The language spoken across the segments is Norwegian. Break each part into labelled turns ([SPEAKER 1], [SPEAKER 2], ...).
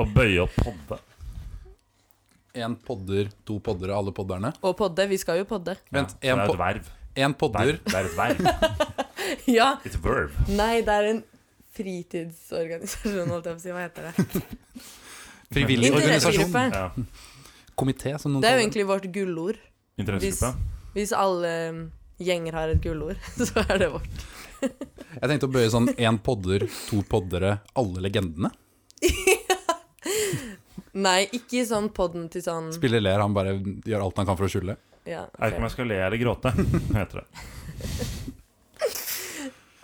[SPEAKER 1] Å bøye opp podde.
[SPEAKER 2] Én podder, to podder av alle podderne.
[SPEAKER 3] Og podde. Vi skal jo podde.
[SPEAKER 2] Vent,
[SPEAKER 1] Det
[SPEAKER 2] én
[SPEAKER 1] er jo et
[SPEAKER 2] po
[SPEAKER 1] verv.
[SPEAKER 2] en podder.
[SPEAKER 1] Verv. Det er et verv.
[SPEAKER 3] Ja.
[SPEAKER 1] Et verb.
[SPEAKER 3] Nei, det er en fritidsorganisasjon, holdt jeg på å si. Hva heter det?
[SPEAKER 2] Frivillig organisasjon.
[SPEAKER 3] Interessegruppe.
[SPEAKER 1] Ja.
[SPEAKER 2] Komité, som noen
[SPEAKER 3] Det er
[SPEAKER 2] kaller
[SPEAKER 3] jo
[SPEAKER 2] det.
[SPEAKER 3] egentlig vårt gullord.
[SPEAKER 1] Interessegruppe.
[SPEAKER 3] Hvis alle um, gjenger har et gullord, så er det vårt.
[SPEAKER 2] Jeg tenkte å bøye sånn én podder, to poddere, alle legendene.
[SPEAKER 3] Nei, ikke i sånn podden til sånn
[SPEAKER 2] Spiller ler, han bare gjør alt han kan for å skjule.
[SPEAKER 3] ja,
[SPEAKER 1] Jeg vet ikke om jeg skal le eller gråte, heter det.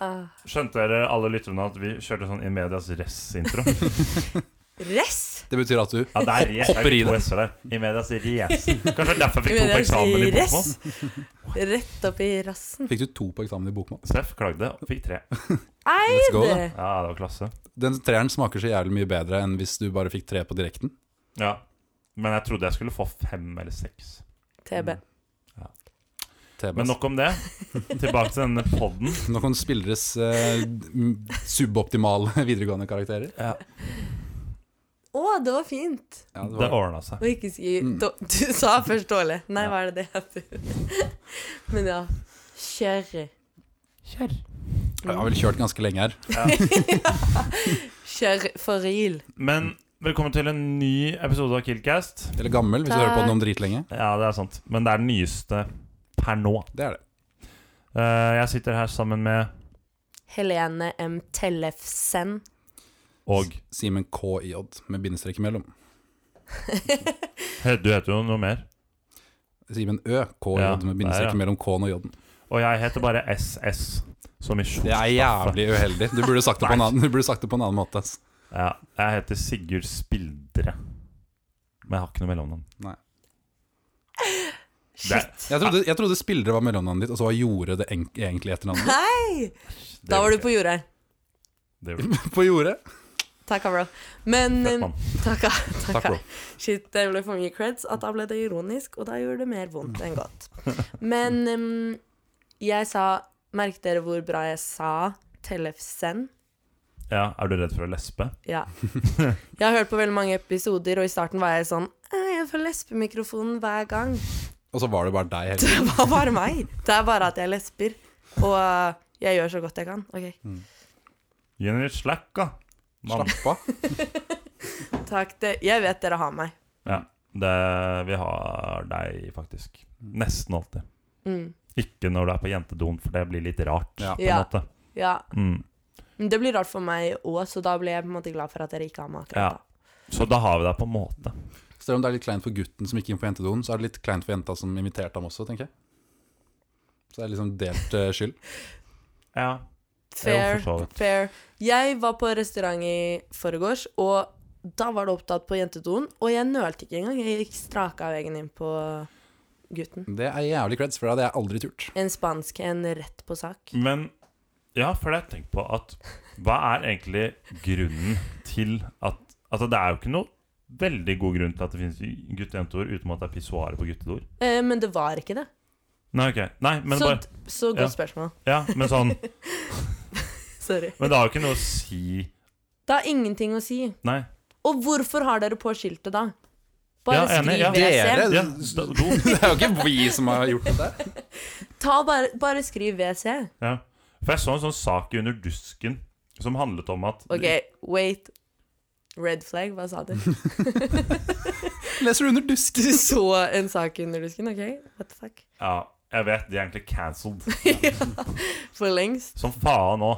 [SPEAKER 3] Ah,
[SPEAKER 1] Skjønte dere alle lytterne at vi kjørte sånn i medias res-intro?
[SPEAKER 3] Ress!
[SPEAKER 2] Det betyr at du
[SPEAKER 1] Ja, det er res.
[SPEAKER 2] Hopper
[SPEAKER 1] Det
[SPEAKER 2] i
[SPEAKER 1] er to
[SPEAKER 2] det.
[SPEAKER 1] s-er der. I medias res. Kanskje det er derfor jeg fikk to på
[SPEAKER 3] Medias
[SPEAKER 1] eksamen i
[SPEAKER 3] res.
[SPEAKER 1] bokmål.
[SPEAKER 3] Rett opp i rassen.
[SPEAKER 2] Fikk du to på eksamen i bokmål?
[SPEAKER 1] Steff klagde og fikk tre.
[SPEAKER 3] Ei,
[SPEAKER 2] Let's go,
[SPEAKER 3] det!
[SPEAKER 2] da.
[SPEAKER 1] Ja, det var klasse.
[SPEAKER 2] Den treeren smaker så jævlig mye bedre enn hvis du bare fikk tre på direkten.
[SPEAKER 1] Ja. Men jeg trodde jeg skulle få fem eller seks.
[SPEAKER 3] TB.
[SPEAKER 2] TBS.
[SPEAKER 1] Men nok om det. Tilbake til denne podden.
[SPEAKER 2] Nå kan spilleres eh, m- suboptimale videregående karakterer.
[SPEAKER 3] Å, det var fint!
[SPEAKER 2] Ja, det
[SPEAKER 1] Det
[SPEAKER 2] var,
[SPEAKER 1] ordna seg.
[SPEAKER 3] Å ikke si
[SPEAKER 1] Mm.
[SPEAKER 3] da, Du sa først dårlig. Nei, hva er det det heter? Men ja. Kjøre.
[SPEAKER 1] Kjør.
[SPEAKER 2] jeg har vel kjørt ganske lenge her.
[SPEAKER 3] Kjør for real.
[SPEAKER 1] Men velkommen til en ny episode av Killcast.
[SPEAKER 2] Eller gammel, hvis du hører på den om dritlenge.
[SPEAKER 1] Ja, det er sant. Men det er den nyeste per nå.
[SPEAKER 2] Det er det.
[SPEAKER 1] Eh, jeg sitter her sammen med
[SPEAKER 3] Helene M. Tellefsen.
[SPEAKER 1] Og
[SPEAKER 2] Simen K. i Odd, med bindestrek imellom.
[SPEAKER 1] he- du heter jo noe mer.
[SPEAKER 2] Simen Ø. K. i
[SPEAKER 1] Ja,
[SPEAKER 2] Odd, med
[SPEAKER 1] der, ja.
[SPEAKER 2] bindestrek mellom K-en og J-en.
[SPEAKER 1] Og jeg heter bare SS. Som i skjorte.
[SPEAKER 2] Det er jævlig uheldig. Du burde sagt det på en annen, du burde sagt det på en annen måte. ass.
[SPEAKER 1] Ja, jeg heter Sigurd Spildre. Men jeg har ikke noe mellomnavn.
[SPEAKER 2] Nei.
[SPEAKER 1] Shit.
[SPEAKER 2] Jeg trodde, jeg trodde spillere var mellomnavnet ditt, og så var Jorde det en- egentlig etternavnet.
[SPEAKER 3] Hei! Da var du på jordet.
[SPEAKER 1] Det gjorde jeg.
[SPEAKER 2] På Jorde?
[SPEAKER 3] Takka, bro. Men
[SPEAKER 1] Fett,
[SPEAKER 3] um,
[SPEAKER 1] mann.
[SPEAKER 3] takka,
[SPEAKER 2] Takk,
[SPEAKER 3] takka.
[SPEAKER 2] bro.
[SPEAKER 3] Shit, det ble for mye creds at da ble det ironisk, og da gjorde det mer vondt enn godt. Men um, jeg sa Merk dere hvor bra jeg sa Tellefsen.
[SPEAKER 1] Ja, er du redd for å lespe?
[SPEAKER 3] Ja. Jeg har hørt på veldig mange episoder, og i starten var jeg sånn «Eh, Jeg får lesbemikrofonen hver gang.
[SPEAKER 2] Og så var det bare deg hele
[SPEAKER 3] Det var bare meg. Det er bare at jeg lesber. Og uh, jeg gjør så godt jeg kan. OK.
[SPEAKER 1] Gi henne litt slack, da. Mann.
[SPEAKER 2] Mm. Slapp av.
[SPEAKER 3] Takk. Det, jeg vet dere har meg.
[SPEAKER 1] Ja, det, vi har deg, faktisk. Nesten alltid.
[SPEAKER 3] Mm.
[SPEAKER 1] Ikke når du er på jentedoen, for det blir litt rart.
[SPEAKER 2] Ja.
[SPEAKER 1] På en
[SPEAKER 3] Ja.
[SPEAKER 1] måte.
[SPEAKER 3] Ja.
[SPEAKER 1] Mm.
[SPEAKER 3] Men det blir rart for meg òg, så da ble jeg på en måte glad for at dere ikke har meg
[SPEAKER 1] Ja.
[SPEAKER 3] akkurat da.
[SPEAKER 1] Så da har vi deg på en måte.
[SPEAKER 2] Selv om det er litt kleint for gutten som gikk inn på jentedoen, så er det litt kleint for jenta som inviterte ham også, tenker jeg. Så det er liksom delt eh, skyld.
[SPEAKER 1] Ja. Jo,
[SPEAKER 3] Fair.
[SPEAKER 1] for så vidt.
[SPEAKER 3] fair. Jeg var på restaurant i forgårs, og da var det opptatt på jentedoen. Og jeg nølte ikke engang. Jeg gikk straka veggen inn på gutten.
[SPEAKER 2] Det er jævlig creds, for det hadde jeg aldri turt.
[SPEAKER 3] En spansk en rett på sak.
[SPEAKER 1] Men ja, for det har jeg tenkt på at hva er egentlig grunnen til at Altså, det er jo ikke noe veldig god grunn til at det finnes gutte-jenteord, utenom at det er pissoarer på guttedoer.
[SPEAKER 3] Eh, men det var ikke det.
[SPEAKER 1] Nei, ok. Nei, men
[SPEAKER 3] så,
[SPEAKER 1] bare
[SPEAKER 3] så
[SPEAKER 1] Ja.
[SPEAKER 3] godt spørsmål.
[SPEAKER 1] Ja, men sånn
[SPEAKER 3] Sorry.
[SPEAKER 1] Men det har jo ikke noe å si
[SPEAKER 3] Det har ingenting å si.
[SPEAKER 1] Nei.
[SPEAKER 3] Og hvorfor har dere på skiltet, da? Bare
[SPEAKER 1] Ja, enig,
[SPEAKER 3] skriv
[SPEAKER 1] ja.
[SPEAKER 3] WC.
[SPEAKER 1] Ja, da, do.
[SPEAKER 2] Det er jo ikke vi som har gjort dette.
[SPEAKER 3] Ta bare, bare skriv WC.
[SPEAKER 1] Ja. For jeg så en sånn sak under dusken som handlet om at
[SPEAKER 3] OK, wait. Red flag, hva sa du?
[SPEAKER 2] Leser du under dusk?
[SPEAKER 3] Du så en sak under dusken, OK? What the fuck?
[SPEAKER 1] Ja, jeg vet, de er egentlig cancelled.
[SPEAKER 3] For lengst.
[SPEAKER 1] Som faen òg.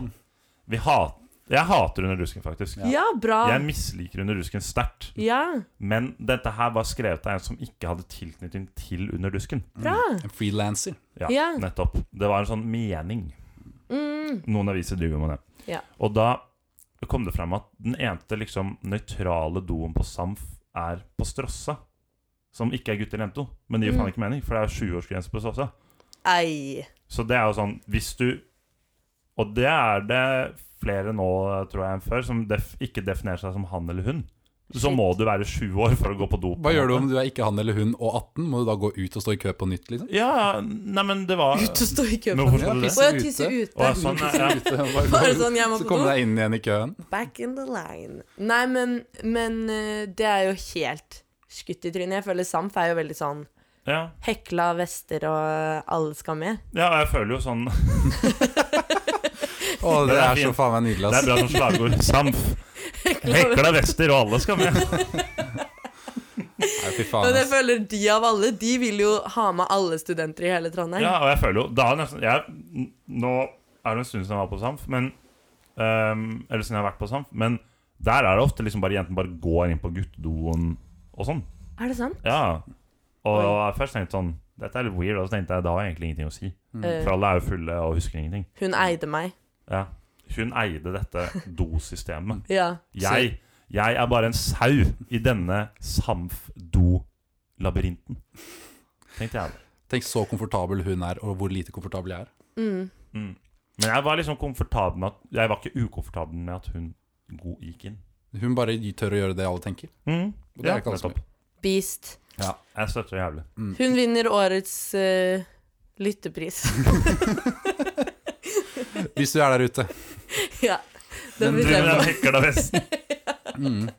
[SPEAKER 1] Vi hat, jeg hater Under dusken, faktisk.
[SPEAKER 3] Ja, bra.
[SPEAKER 1] Jeg misliker Under dusken sterkt.
[SPEAKER 3] Ja,
[SPEAKER 1] Men dette her var skrevet av en som ikke hadde tilknytning til Under dusken.
[SPEAKER 3] bra.
[SPEAKER 2] Mm. En freelancer.
[SPEAKER 1] Ja,
[SPEAKER 3] Ja.
[SPEAKER 1] nettopp. Det var en sånn mening.
[SPEAKER 3] Mm.
[SPEAKER 1] Noen aviser driver med det.
[SPEAKER 3] Ja.
[SPEAKER 1] Og da kom det frem at den eneste liksom nøytrale doen på Samf er på Strossa. Som ikke er gutt eller jento. Men
[SPEAKER 3] Mm.
[SPEAKER 1] det gir faen ikke mening, for det er jo 20-årsgrense på Strossa.
[SPEAKER 3] Ei.
[SPEAKER 1] Så det er jo sånn, hvis du Og det er det flere nå, tror jeg, enn før, som def, ikke definerer seg som han eller hun. så må du være sju år for å gå på do.
[SPEAKER 2] Hva gjør du om du er ikke han eller hun og 18? Må du da gå ut og stå i kø på nytt, liksom?
[SPEAKER 1] Ja, nei, men det var
[SPEAKER 3] Ut og stå i kø.
[SPEAKER 1] Nå
[SPEAKER 3] Å,
[SPEAKER 1] forstår du det?
[SPEAKER 2] pisse
[SPEAKER 3] jeg tisser
[SPEAKER 2] ute.
[SPEAKER 1] Å, ja,
[SPEAKER 3] ute.
[SPEAKER 1] sånn, ja, ja.
[SPEAKER 2] Ute, bare
[SPEAKER 3] Bare
[SPEAKER 2] gå ut,
[SPEAKER 3] sånn, jeg må
[SPEAKER 2] så
[SPEAKER 3] på
[SPEAKER 2] kommer
[SPEAKER 3] do.
[SPEAKER 2] du deg inn igjen i køen.
[SPEAKER 3] Back in the line. Nei, men, men eh, det er jo helt skutt i trynet. Jeg føler Samf er jo veldig sånn
[SPEAKER 1] ja.
[SPEAKER 3] hekla vester og alle skal med.
[SPEAKER 1] Ja, og jeg føler jo sånn Det
[SPEAKER 2] Å, det
[SPEAKER 1] er
[SPEAKER 2] er så
[SPEAKER 1] fint.
[SPEAKER 2] faen meg nydelig,
[SPEAKER 1] er
[SPEAKER 2] ass.
[SPEAKER 1] bra som slagord. Samf. Hekla vester, og alle skal med.
[SPEAKER 2] Nei, fy
[SPEAKER 3] Men
[SPEAKER 2] faen,
[SPEAKER 3] jeg
[SPEAKER 2] ass.
[SPEAKER 3] føler de av alle, de vil jo ha med alle studenter i hele Trondheim.
[SPEAKER 1] Ja, og jeg føler jo da er nesten, jeg, Nå er det en stund siden jeg var på Samf, men ehm, Eller siden jeg har vært på Samf, men der er det ofte liksom bare jentene bare går inn på guttedoen og sånn.
[SPEAKER 3] Er det sant?
[SPEAKER 1] Ja. Og
[SPEAKER 3] Oi.
[SPEAKER 1] jeg først tenkte sånn Dette er litt weird, og så tenkte jeg da har jeg egentlig ingenting å si.
[SPEAKER 2] Mm.
[SPEAKER 3] Eh,
[SPEAKER 1] For alle er jo fulle og husker ingenting.
[SPEAKER 3] hun eide meg.
[SPEAKER 1] Ja. Hun eide dette dosystemet.
[SPEAKER 3] Ja.
[SPEAKER 1] Jeg, jeg er bare en sau i denne Samf-do-labyrinten. Tenkte jeg.
[SPEAKER 2] Tenk så komfortabel hun er, og hvor lite komfortabel jeg er.
[SPEAKER 3] Mm.
[SPEAKER 1] Mm. Men jeg var liksom komfortabel med at Jeg var ikke ukomfortabel med at hun go- gikk inn.
[SPEAKER 2] Hun bare tør å gjøre det alle tenker.
[SPEAKER 1] Mm.
[SPEAKER 2] Og det er ikke alle som
[SPEAKER 1] nettopp.
[SPEAKER 3] Beast.
[SPEAKER 1] Jeg støtter det jævlig.
[SPEAKER 3] Hun vinner årets eh, lyttepris.
[SPEAKER 2] Hvis du er der ute.
[SPEAKER 3] ja. Det
[SPEAKER 2] Men
[SPEAKER 1] Du
[SPEAKER 3] blir
[SPEAKER 1] med den
[SPEAKER 3] sånn.
[SPEAKER 1] hekla vesten.
[SPEAKER 2] Mm.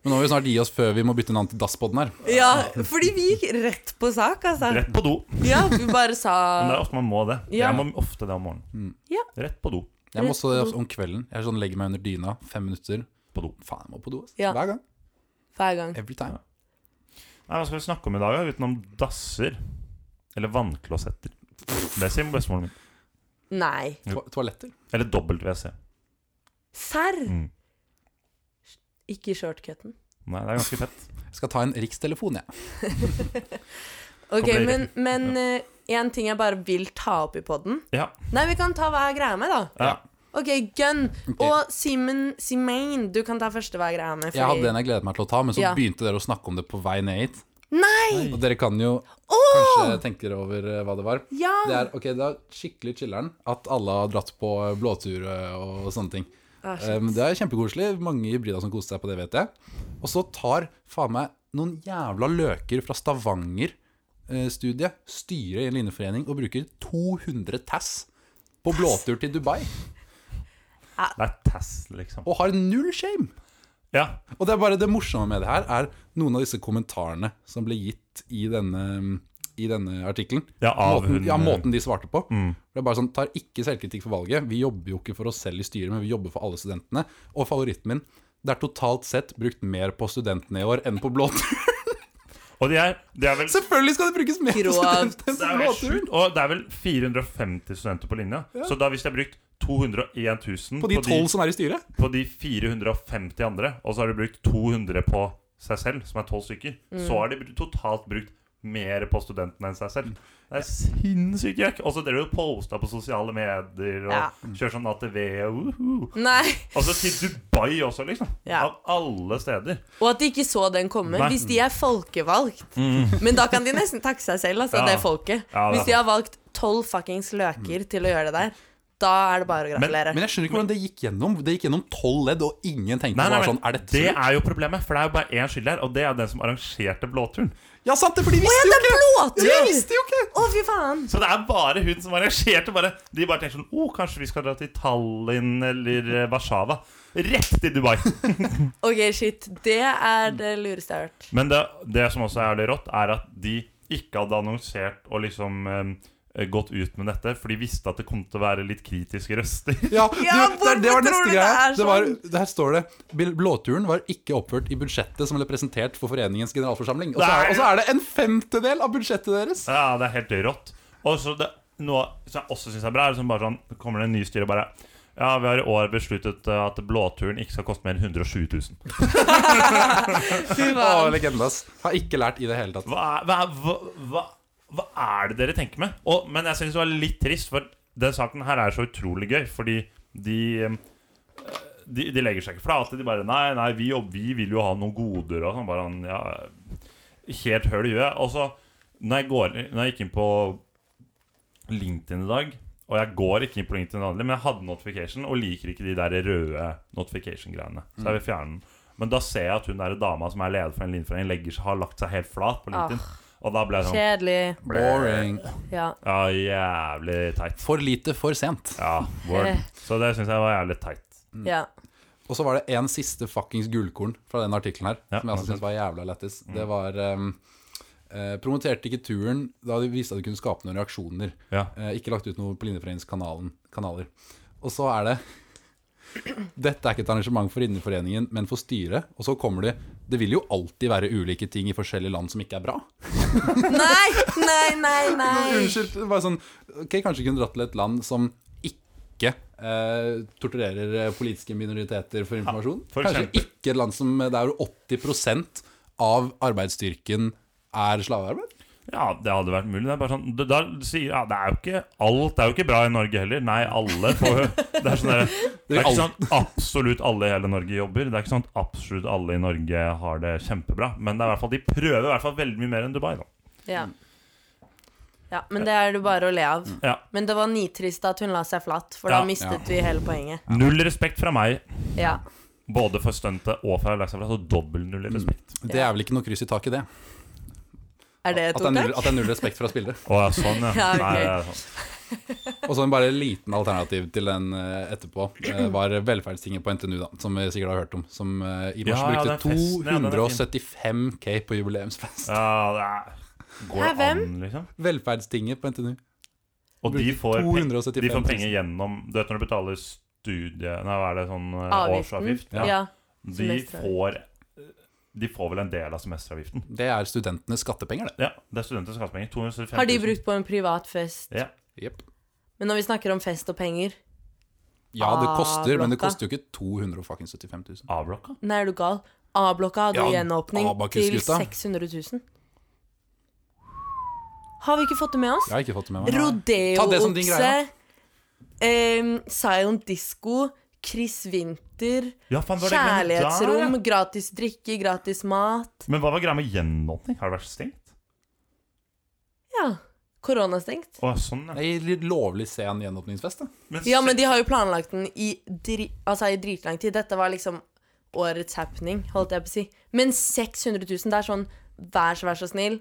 [SPEAKER 2] Men nå må vi snart gi oss før vi må bytte navn til Dasspodden her.
[SPEAKER 3] Ja, fordi vi gikk rett på sak, altså.
[SPEAKER 1] Rett på do.
[SPEAKER 3] Ja, vi
[SPEAKER 1] Men det er
[SPEAKER 3] bare sa
[SPEAKER 1] ofte man må det.
[SPEAKER 3] Ja.
[SPEAKER 1] Jeg må ofte det om morgenen.
[SPEAKER 2] Mm.
[SPEAKER 3] Ja.
[SPEAKER 1] Rett på do.
[SPEAKER 2] Jeg må også om kvelden. Jeg er sånn, legger meg under dyna, fem minutter.
[SPEAKER 1] På do.
[SPEAKER 2] Faen, jeg må på do. ass.
[SPEAKER 3] Ja.
[SPEAKER 2] Hver gang.
[SPEAKER 3] hver gang.
[SPEAKER 2] Every time.
[SPEAKER 1] Nei, Hva skal vi snakke om i dag, da? utenom dasser? Eller vannklosetter. Det sier bestemoren min.
[SPEAKER 3] Nei.
[SPEAKER 2] To toaletter.
[SPEAKER 1] Eller dobbelt WC.
[SPEAKER 3] Serr!
[SPEAKER 1] Mm.
[SPEAKER 3] Ikke shortcuten.
[SPEAKER 1] Nei, det er ganske fett.
[SPEAKER 2] Jeg skal ta en rikstelefon, jeg.
[SPEAKER 3] Ok,
[SPEAKER 1] Kommer i
[SPEAKER 3] men,
[SPEAKER 1] retten.
[SPEAKER 3] men eh, en ting jeg bare vil ta opp i podden.
[SPEAKER 1] Ja.
[SPEAKER 3] Nei, vi kan ta hva er greia med, da.
[SPEAKER 1] ja.
[SPEAKER 3] Ok, gun.
[SPEAKER 2] Ok.
[SPEAKER 3] Og Simen Simain, du kan ta første hva er greia med.
[SPEAKER 2] Jeg hadde en jeg gledet meg til å ta, men så
[SPEAKER 3] Ja.
[SPEAKER 2] begynte dere å snakke om det på vei ned hit.
[SPEAKER 3] Nei!
[SPEAKER 2] Og dere kan jo
[SPEAKER 3] Åh!
[SPEAKER 2] kanskje tenke dere over eh, hva det var.
[SPEAKER 3] Ja!
[SPEAKER 2] Det er ok, det er skikkelig chiller'n at alle har dratt på blåtur eh, og sånne ting.
[SPEAKER 3] Ah, shit.
[SPEAKER 2] Um, det er kjempekoselig. Mange i Bryda som koser seg på det, vet jeg. Og så tar faen meg noen jævla løker fra Stavanger-studiet styret i en lineforening og bruker 200 tass på blåtur til Dubai.
[SPEAKER 1] Det er tass, liksom.
[SPEAKER 2] Og har null shame!
[SPEAKER 1] Ja.
[SPEAKER 2] Og det er bare det morsomme med det her, er noen av disse kommentarene som ble gitt i denne, i denne artikkelen.
[SPEAKER 1] Ja, av
[SPEAKER 2] måten,
[SPEAKER 1] hun- Mm.
[SPEAKER 2] ja, måten de svarte på. Det er bare sånn, Tar ikke selvkritikk for valget. Vi jobber jo ikke for oss selv i styret, men vi jobber for alle studentene. Og favoritten min det er totalt sett brukt mer på studentene i år enn på blåtur.
[SPEAKER 1] Og de er, de er vel
[SPEAKER 2] Selvfølgelig skal det brukes mer på
[SPEAKER 3] Grovt.
[SPEAKER 2] studentene enn
[SPEAKER 1] det
[SPEAKER 2] på
[SPEAKER 1] er vel
[SPEAKER 2] blåturen!
[SPEAKER 1] sjukt. Og det er vel 450 studenter på linja. Så da hvis de har brukt 201 000
[SPEAKER 2] På de tolv som er i styret.
[SPEAKER 1] på de 450 andre, og så har de brukt 200 på seg selv, som er 12 stykker,
[SPEAKER 3] Mm.
[SPEAKER 1] så har de br- totalt brukt mer på studentene enn seg
[SPEAKER 2] Mm.
[SPEAKER 1] selv. Det er sinnssykt jøkk. Og så dere jo posta på sosiale medier og
[SPEAKER 3] Ja.
[SPEAKER 1] kjører sånn ATV og uhu.
[SPEAKER 3] Nei.
[SPEAKER 1] Og så til Dubai også, liksom.
[SPEAKER 3] Ja.
[SPEAKER 1] Av alle steder.
[SPEAKER 3] Og at de ikke så den komme.
[SPEAKER 1] Nei.
[SPEAKER 3] Hvis de er folkevalgt.
[SPEAKER 2] Mm.
[SPEAKER 3] Men da kan de nesten takke seg selv, altså,
[SPEAKER 1] Ja.
[SPEAKER 3] det folket.
[SPEAKER 1] Ja, det er
[SPEAKER 3] Hvis de har valgt tolv fuckings løker til å gjøre det der, da er det bare å gratulere.
[SPEAKER 2] Men jeg skjønner ikke hvordan det gikk gjennom. Det gikk gjennom tolv ledd, og ingen tenkte
[SPEAKER 1] Nei, nei,
[SPEAKER 2] bare
[SPEAKER 1] men
[SPEAKER 2] sånn Er dette
[SPEAKER 1] det
[SPEAKER 2] det
[SPEAKER 1] er jo problemet, for det er jo bare én skyldig her, og det er den som arrangerte blåturen.
[SPEAKER 2] Ja, sant det, for de
[SPEAKER 3] Å ja,
[SPEAKER 2] visste
[SPEAKER 3] det
[SPEAKER 2] jo ikke!
[SPEAKER 3] er blåtur!
[SPEAKER 2] De visste jo ikke!
[SPEAKER 3] Å, fy faen!
[SPEAKER 1] Så det er bare hun som arrangerte. Bare, de bare tenker sånn Å, oh, kanskje vi skal dra til Tallinn eller eh, Warszawa. Rett til Dubai.
[SPEAKER 3] Ok, shit. Det er det lureste jeg har hørt.
[SPEAKER 1] Men det, det som også er jævlig rått, er at de ikke hadde annonsert og liksom eh, gått ut med dette, for de visste at det kom til å være litt kritiske røster.
[SPEAKER 2] Ja,
[SPEAKER 3] Ja,
[SPEAKER 2] du, det, er- det var
[SPEAKER 3] hvorfor tror
[SPEAKER 2] neste
[SPEAKER 3] du det
[SPEAKER 2] greie.
[SPEAKER 3] er
[SPEAKER 2] Det var,
[SPEAKER 3] sånn?
[SPEAKER 2] her står det Bil- Blåturen var ikke oppført i budsjettet som ble presentert for foreningens generalforsamling. Og så er,
[SPEAKER 1] Nei.
[SPEAKER 2] og så er det en femtedel av budsjettet deres!
[SPEAKER 1] Ja, det er helt rått. Og så det, noe som jeg også syns er bra, er liksom bare sånn Kommer det en ny styre og bare Ja, vi har i år besluttet eh, at blåturen ikke skal koste mer enn 107 000.
[SPEAKER 3] Fy
[SPEAKER 2] Å,
[SPEAKER 3] faen.
[SPEAKER 2] legende, ass. Har ikke lært i det hele tatt.
[SPEAKER 1] Hva er, hva, er- hva, hva, hva er det dere tenker med? Og, men jeg syns det var litt trist, for den saken her er så utrolig gøy, fordi de eh, de, de legger seg ikke flate. De bare Nei, nei, vi, jobb- vi vil jo ha noen goder og sånn. Bare han ja, Helt høl i huet. Og så, når jeg, går, når jeg gikk inn på LinkedIn i dag Og jeg går ikke inn på LinkedIn vanlig, men jeg hadde notification og liker ikke de der røde notification-greiene. Så jeg vil fjerne den. Men da ser jeg at hun der dama som er leder for en linjeforening, legger seg, har lagt seg helt flat på LinkedIn. Og da ble jeg sånn
[SPEAKER 3] Kjedelig.
[SPEAKER 2] Boring.
[SPEAKER 3] Ja.
[SPEAKER 1] Ja, jævlig teit.
[SPEAKER 2] For lite, for sent.
[SPEAKER 1] Ja,
[SPEAKER 3] Eh.
[SPEAKER 1] word. Så det syns jeg var jævlig teit.
[SPEAKER 2] Mm.
[SPEAKER 3] ja.
[SPEAKER 2] Og så var det en siste fuckings gullkorn fra den artikkelen her,
[SPEAKER 1] Ja, Mm.
[SPEAKER 2] som jeg også
[SPEAKER 1] absolutt.
[SPEAKER 2] syntes var jævla lættis. Det var um, eh, Promoterte ikke turen da de viste at de kunne skape noen reaksjoner.
[SPEAKER 1] Ja.
[SPEAKER 2] Eh, ikke lagt ut noe på Linjeforeningens kanaler. Og så er det Dette er ikke et arrangement for Linjeforeningen, men for styret. Og så kommer det Det vil jo alltid være ulike ting i forskjellige land som ikke er bra.
[SPEAKER 3] Nei, nei, nei, nei.
[SPEAKER 2] Unnskyld. det var sånn Ok, kanskje kunne dratt til et land som ikke eh, torturerer eh, politiske minoriteter for informasjon.
[SPEAKER 1] for
[SPEAKER 2] kanskje
[SPEAKER 1] eksempel.
[SPEAKER 2] ikke et land som eh, der 80 av arbeidsstyrken er slavearbeid.
[SPEAKER 1] Ja, det hadde vært mulig. Det er bare sånn Da, da sier ja, det er jo ikke Alt er jo ikke bra i Norge heller. Nei, alle får Det er sånn der, Det er ikke sånn absolutt alle i hele Norge jobber. Det er ikke sånn at absolutt alle i Norge har det kjempebra. Men det er i hvert fall, de prøver i hvert fall veldig mye mer enn Dubai, da.
[SPEAKER 3] Ja. ja. Men det er det bare å le av.
[SPEAKER 1] Ja.
[SPEAKER 3] Men det var nitrist at hun la seg flatt, for
[SPEAKER 1] Ja.
[SPEAKER 3] da mistet vi hele poenget.
[SPEAKER 1] Null respekt fra meg,
[SPEAKER 3] Ja.
[SPEAKER 1] både for stuntet og fra Alexa Flat, og dobbel null respekt.
[SPEAKER 2] Det er vel ikke noe kryss i taket, det.
[SPEAKER 3] Er det
[SPEAKER 2] At
[SPEAKER 3] et
[SPEAKER 2] det er null,
[SPEAKER 3] ordtak?
[SPEAKER 2] at det er null respekt fra spillere.
[SPEAKER 1] Å ja, sånn, ja.
[SPEAKER 3] Ja, ok.
[SPEAKER 1] Nei, det er sånn.
[SPEAKER 2] Og så en bare liten alternativ til den eh, etterpå eh, var velferdstinget på NTNU, da, som vi sikkert har hørt om. Som eh, i mars
[SPEAKER 1] Ja, ja, den
[SPEAKER 2] brukte
[SPEAKER 1] festen, ja, den er fin.
[SPEAKER 2] 275K på jubileumsfest.
[SPEAKER 1] ja, det er Går
[SPEAKER 3] Hæ,
[SPEAKER 1] det
[SPEAKER 3] hvem?
[SPEAKER 1] an, liksom?
[SPEAKER 2] Velferdstinget på NTNU.
[SPEAKER 1] Og de får,
[SPEAKER 2] Brukte
[SPEAKER 1] peng-
[SPEAKER 2] 275
[SPEAKER 1] de får
[SPEAKER 2] 000.
[SPEAKER 1] penger gjennom Du vet når du betaler studie... Nei, hva er det sånn eh,
[SPEAKER 3] Avgiften?
[SPEAKER 1] årsavgift?
[SPEAKER 3] Mm. Ja.
[SPEAKER 1] De
[SPEAKER 3] semesteravgift.
[SPEAKER 1] får De får vel en del av semesteravgiften.
[SPEAKER 2] Det er studentenes skattepenger, det.
[SPEAKER 1] Ja, det er studenters skattepenger. 275 000.
[SPEAKER 3] Har de brukt på en privat fest?
[SPEAKER 1] Ja.
[SPEAKER 2] Jep.
[SPEAKER 3] Men når vi snakker om fest og penger
[SPEAKER 2] Ja, det
[SPEAKER 3] Ah,
[SPEAKER 2] koster, men det
[SPEAKER 3] blokka.
[SPEAKER 2] koster jo ikke 275 000.
[SPEAKER 1] A-blokka?
[SPEAKER 3] Nei, er du gal? A-blokka hadde jo
[SPEAKER 2] Ja,
[SPEAKER 3] gjenåpning til
[SPEAKER 2] Abakus-gutta.
[SPEAKER 3] 600 000. Har vi ikke fått det med oss?
[SPEAKER 2] Jeg har ikke fått det med meg. Ta det som din
[SPEAKER 3] Rodeo-okse,
[SPEAKER 2] greie,
[SPEAKER 3] eh, Silent Disco, Chris Winther,
[SPEAKER 1] Ja, faen, var det greia der, ja?
[SPEAKER 3] kjærlighetsrom, gratis drikke, gratis mat.
[SPEAKER 1] Men hva var greia med gjenåpning? Har det vært stengt?
[SPEAKER 3] Ja. Koronastengt.
[SPEAKER 1] Å, sånn, ja.
[SPEAKER 2] Nei, litt lovlig sen gjenåpningsfest, da.
[SPEAKER 3] Ja, men de har jo planlagt den i, dri altså, i dritlang tid. Dette var liksom årets happening, holdt jeg på å si. Men 600 000, det er sånn Vær så, vær så snill,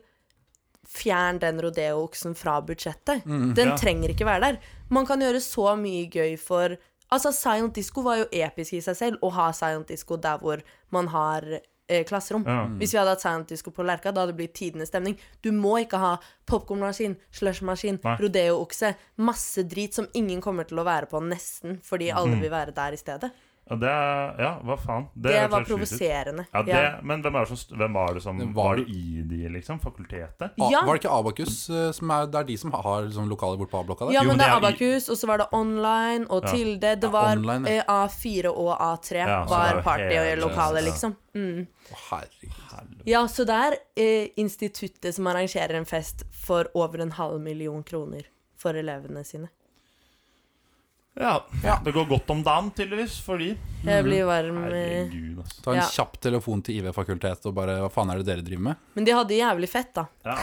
[SPEAKER 3] fjern den rodeo-oksen fra budsjettet. den
[SPEAKER 1] Mm, ja.
[SPEAKER 3] trenger ikke være der. Man kan gjøre så mye gøy for Altså, Silent Disco var jo episk i seg selv, å ha Silent Disco der hvor man har eh, klasserom.
[SPEAKER 1] Ja.
[SPEAKER 3] Hvis vi hadde hatt Silent Disco på Lerka, da hadde det blitt tidenes stemning. Du må ikke ha popkornmaskin, slushmaskin,
[SPEAKER 1] Nei.
[SPEAKER 3] rodeo-okse, masse drit som ingen kommer til å være på, nesten,
[SPEAKER 1] Mm.
[SPEAKER 3] fordi alle vil være der i stedet.
[SPEAKER 1] Ja, det er, ja, hva faen?
[SPEAKER 3] Det,
[SPEAKER 1] høres
[SPEAKER 3] var
[SPEAKER 1] helt sjukt ut.
[SPEAKER 3] provoserende.
[SPEAKER 1] Ja, det, Men hvem, er det som, hvem var det som
[SPEAKER 2] Det
[SPEAKER 1] var,
[SPEAKER 2] var-
[SPEAKER 1] det i de, liksom? Fakultetet?
[SPEAKER 2] Ah,
[SPEAKER 3] Ja.
[SPEAKER 2] Var det ikke Abakus eh, som er Det er de som har liksom, lokaler bort på A-blokka der?
[SPEAKER 3] Ja,
[SPEAKER 1] Jo,
[SPEAKER 3] men
[SPEAKER 1] det
[SPEAKER 3] det er
[SPEAKER 1] er i-
[SPEAKER 3] Abakus, og så var det online og Tilde. Det var
[SPEAKER 2] online, ja.
[SPEAKER 3] eh, A4 og A3
[SPEAKER 1] Ja, så det er
[SPEAKER 3] var
[SPEAKER 1] jo
[SPEAKER 3] partylokalet,
[SPEAKER 1] helt- eh,
[SPEAKER 3] liksom. Mm.
[SPEAKER 2] Å, herregud.
[SPEAKER 3] Ja, så det er eh, instituttet som arrangerer en fest for over en halv million kroner for elevene sine.
[SPEAKER 1] Ja. Det går godt om dagen, tydeligvis, for de.
[SPEAKER 3] Jeg blir varm. eh.
[SPEAKER 1] Mhm. Herregud, altså.
[SPEAKER 2] Ta en
[SPEAKER 3] Ja.
[SPEAKER 2] kjapp telefon til IV-fakultetet og bare Hva faen er det dere driver med?
[SPEAKER 3] Men de hadde jævlig fett, da.
[SPEAKER 1] Ja.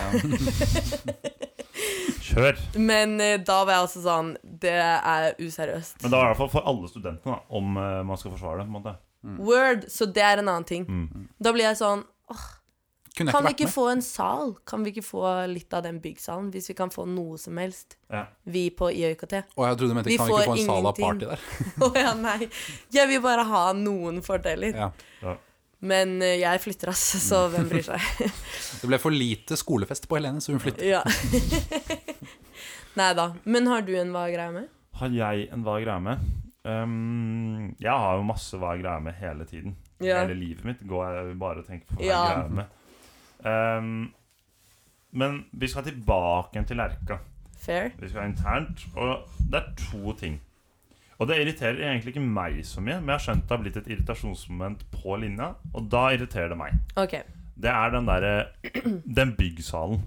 [SPEAKER 1] Kjør.
[SPEAKER 3] Men eh, da var jeg altså sånn Det er useriøst.
[SPEAKER 1] Men da er det i hvert fall for alle studentene, da, om eh, man skal forsvare det. på en måte. Mm.
[SPEAKER 3] Word! Så det er en annen ting. Da blir jeg sånn
[SPEAKER 2] Kunne jeg
[SPEAKER 3] Kan
[SPEAKER 2] ikke
[SPEAKER 3] vi
[SPEAKER 2] vært
[SPEAKER 3] ikke
[SPEAKER 2] med?
[SPEAKER 3] få en sal? Kan vi ikke få litt av den byggsalen? Hvis vi kan få noe som helst,
[SPEAKER 1] Ja.
[SPEAKER 3] vi på IØKT.
[SPEAKER 2] Å, jeg trodde du mente
[SPEAKER 3] Vi
[SPEAKER 2] kan vi ikke
[SPEAKER 3] får
[SPEAKER 2] få en sal av
[SPEAKER 3] ingenting.
[SPEAKER 2] party der?
[SPEAKER 3] Å ja, nei. Jeg vil bare ha noen fordeler.
[SPEAKER 2] Ja.
[SPEAKER 3] Men eh, jeg flytter, altså, så hvem bryr seg?
[SPEAKER 2] Det ble for lite skolefest på Helene, så hun flyttet.
[SPEAKER 3] ja. nei da. Men har du en hva greie med?
[SPEAKER 1] Har jeg en hva er greia med? Um, jeg har jo masse hva er greia med hele tiden.
[SPEAKER 3] Ja.
[SPEAKER 1] Hele livet mitt går jeg bare og tenker på hva er
[SPEAKER 3] Ja.
[SPEAKER 1] greia med. Um, men vi skal tilbake igjen til Lerka.
[SPEAKER 3] Fair?
[SPEAKER 1] Vi skal internt, og det er to ting. Og det irriterer egentlig ikke meg så mye, men jeg har skjønt det har blitt et irritasjonsmoment på linja, og da irriterer det meg.
[SPEAKER 3] OK.
[SPEAKER 1] Det er den derre Den byggsalen.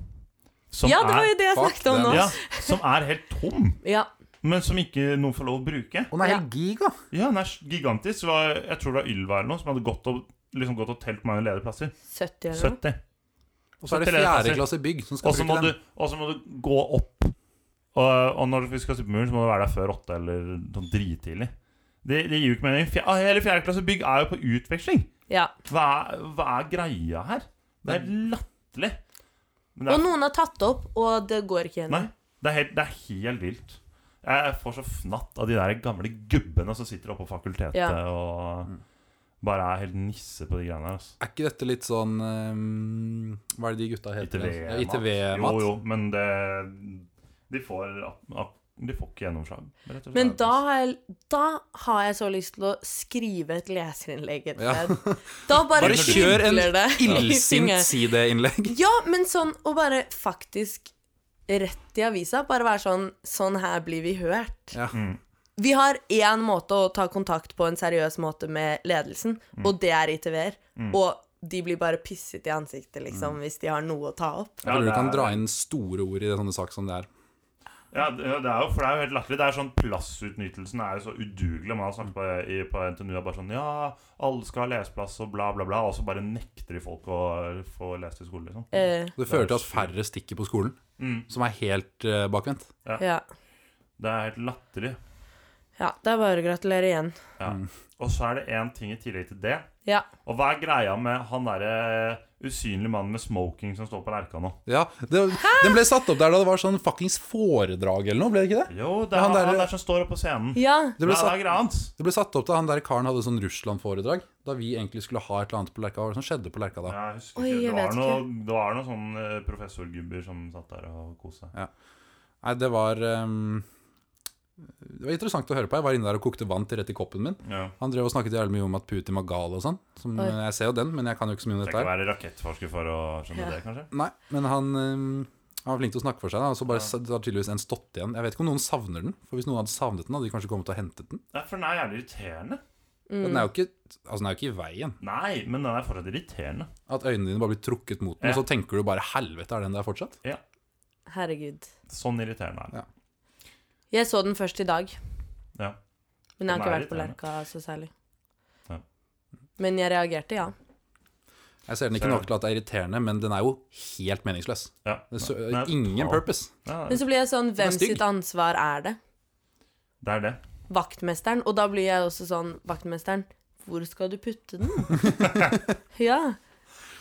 [SPEAKER 1] Som
[SPEAKER 3] Ja, det var jo det jeg
[SPEAKER 2] fuck
[SPEAKER 3] snakket om
[SPEAKER 2] den.
[SPEAKER 3] nå.
[SPEAKER 1] er, ja,
[SPEAKER 3] Ja.
[SPEAKER 1] som er helt tom, men som ikke noen får lov å bruke.
[SPEAKER 2] Og den er helt giga!
[SPEAKER 1] Ja, den er gigantisk. Det var, jeg tror det var Ylva eller noe som hadde gått og, liksom gått og telt mange ledige plasser.
[SPEAKER 3] 70 eller noe.
[SPEAKER 1] 70.
[SPEAKER 2] Og så er det
[SPEAKER 1] Til det, altså.
[SPEAKER 2] fjerde klasse bygg som skal
[SPEAKER 1] Og så må,
[SPEAKER 2] bruke
[SPEAKER 1] du-
[SPEAKER 2] den.
[SPEAKER 1] og så må du gå opp. Og, og når vi skal se på muren, så må du være der før åtte eller sånn drittidlig. Det, det gir jo ikke mening. Fjer, ah, hele fjerde klasse bygg er jo på utveksling.
[SPEAKER 3] Ja.
[SPEAKER 1] Hva er, hva er greia her? Det er latterlig. Men det
[SPEAKER 3] Og
[SPEAKER 1] er,
[SPEAKER 3] noen har tatt opp, og det går ikke
[SPEAKER 1] nei,
[SPEAKER 3] gjennom.
[SPEAKER 1] det er, helt, det er helt vilt. Jeg får så fnatt av de der gamle gubbene som sitter oppe på fakultetet
[SPEAKER 3] Ja.
[SPEAKER 1] og
[SPEAKER 2] Mm.
[SPEAKER 1] bare er helt nisse på de greiene her. Altså.
[SPEAKER 2] Er ikke dette litt sånn ehm, Hva er det de gutta heter? Ja,
[SPEAKER 1] Jo,
[SPEAKER 2] ITV-mat.
[SPEAKER 1] jo, men det De får, ap- ap- de får ikke gjennomslag, rett og slett.
[SPEAKER 3] Men da har, jeg, da har jeg så lyst til å skrive et leserinnlegg et
[SPEAKER 2] Ja.
[SPEAKER 3] sted. Da bare,
[SPEAKER 2] Bare kjør en
[SPEAKER 3] kribler det i
[SPEAKER 2] illsint
[SPEAKER 3] fingeren.
[SPEAKER 2] si det-innlegg.
[SPEAKER 3] Ja, men sånn å bare faktisk rett i avisa. Bare være sånn Sånn her blir vi hørt.
[SPEAKER 2] Ja.
[SPEAKER 1] Mm.
[SPEAKER 3] Vi har én måte å ta kontakt på en seriøs måte med ledelsen,
[SPEAKER 2] Mm.
[SPEAKER 3] og det er ITV-er. Og de blir bare pisset i ansiktet,
[SPEAKER 2] Mm.
[SPEAKER 3] liksom, hvis de har noe å ta opp.
[SPEAKER 2] Jeg tror
[SPEAKER 1] det
[SPEAKER 2] du kan
[SPEAKER 1] er-
[SPEAKER 2] dra inn store ord i sånne saker som det er.
[SPEAKER 1] Ja, det ja, det er jo, for det er jo helt latterlig. Det er sånn Plassutnyttelsen er jo så udugelig. Man har snakket på, i, på NTNU er bare sånn Ja, alle skal ha leseplass og bla, bla, bla. Og så bare nekter de folk å få lest i skolen, liksom.
[SPEAKER 3] Eh,
[SPEAKER 2] Det fører til at færre stikker på skolen,
[SPEAKER 1] Mm.
[SPEAKER 2] som er helt eh, bakvendt.
[SPEAKER 3] ja.
[SPEAKER 1] Det er helt latterlig.
[SPEAKER 3] ja. Det er bare å gratulere igjen.
[SPEAKER 1] Ja. Og så er det én ting i tillegg til det.
[SPEAKER 3] Ja.
[SPEAKER 1] Og hva er greia med han derre eh, usynlige mannen med smoking som står på Lerka nå?
[SPEAKER 2] Ja, det, Den ble satt opp der da det var sånn fuckings foredrag eller noe, ble det ikke det?
[SPEAKER 1] Jo, det er
[SPEAKER 2] Han
[SPEAKER 1] han,
[SPEAKER 2] derre-
[SPEAKER 1] han der som står oppe på scenen.
[SPEAKER 3] Ja.
[SPEAKER 2] Det
[SPEAKER 1] Hva
[SPEAKER 2] ble,
[SPEAKER 1] er
[SPEAKER 2] satt,
[SPEAKER 1] greia hans?
[SPEAKER 2] det ble satt opp da han der karen hadde sånn Russland-foredrag. Da vi egentlig skulle ha et eller annet på Lerka. Hva var det som skjedde på Lerka da?
[SPEAKER 1] Jeg husker
[SPEAKER 3] Oi,
[SPEAKER 1] ikke.
[SPEAKER 3] jeg
[SPEAKER 1] Det var
[SPEAKER 3] vet
[SPEAKER 1] noe- det var noen sånne eh, professorgubber som satt der og koste seg.
[SPEAKER 2] Nei, det var ehm, Det var interessant å høre på. Jeg var inne der og kokte vann til rett i koppen min.
[SPEAKER 1] Ja.
[SPEAKER 2] Han drev og snakket jævlig mye om at Putin var gal og sånn. Som,
[SPEAKER 3] Oi.
[SPEAKER 2] jeg ser jo den, men jeg kan jo ikke så mye om dette
[SPEAKER 1] Trenger
[SPEAKER 2] her.
[SPEAKER 1] ikke være rakettforsker for å skjønne
[SPEAKER 3] Ja.
[SPEAKER 1] det, kanskje?
[SPEAKER 2] Nei, men han, ehm, han var flink til å snakke for seg, da, og så bare ja. har tydeligvis en stått igjen. Jeg vet ikke om noen savner den, for hvis noen hadde savnet den, hadde de kanskje kommet og hentet den.
[SPEAKER 1] Nei, for den er jævlig irriterende.
[SPEAKER 2] Den,
[SPEAKER 3] Mm.
[SPEAKER 2] er jo ikke, altså, den er jo ikke i veien.
[SPEAKER 1] Nei, men den er fortsatt irriterende.
[SPEAKER 2] At øynene dine bare blir trukket mot den,
[SPEAKER 1] Ja.
[SPEAKER 2] og så tenker du bare 'helvete, er den der fortsatt?'
[SPEAKER 3] Herregud.
[SPEAKER 1] Sånn irriterende er den.
[SPEAKER 2] Ja.
[SPEAKER 3] Jeg så den først i dag,
[SPEAKER 1] Ja.
[SPEAKER 3] men jeg har
[SPEAKER 1] Den
[SPEAKER 3] ikke
[SPEAKER 1] er
[SPEAKER 3] vært på
[SPEAKER 1] irriterende.
[SPEAKER 3] Lerka så særlig.
[SPEAKER 1] Ja.
[SPEAKER 3] Men jeg reagerte, ja.
[SPEAKER 2] Jeg ser den
[SPEAKER 1] Ser
[SPEAKER 2] ikke nok til at det er irriterende, men den er jo helt meningsløs.
[SPEAKER 1] ja.
[SPEAKER 2] Det er så,
[SPEAKER 1] Nei,
[SPEAKER 2] ingen
[SPEAKER 1] faen.
[SPEAKER 2] purpose.
[SPEAKER 1] Ja,
[SPEAKER 3] Men så blir jeg sånn,
[SPEAKER 2] er
[SPEAKER 3] hvem
[SPEAKER 2] stygg.
[SPEAKER 3] sitt ansvar er det?
[SPEAKER 1] det er det.
[SPEAKER 3] Vaktmesteren. Og da blir jeg også sånn, vaktmesteren, hvor skal du putte den? ja.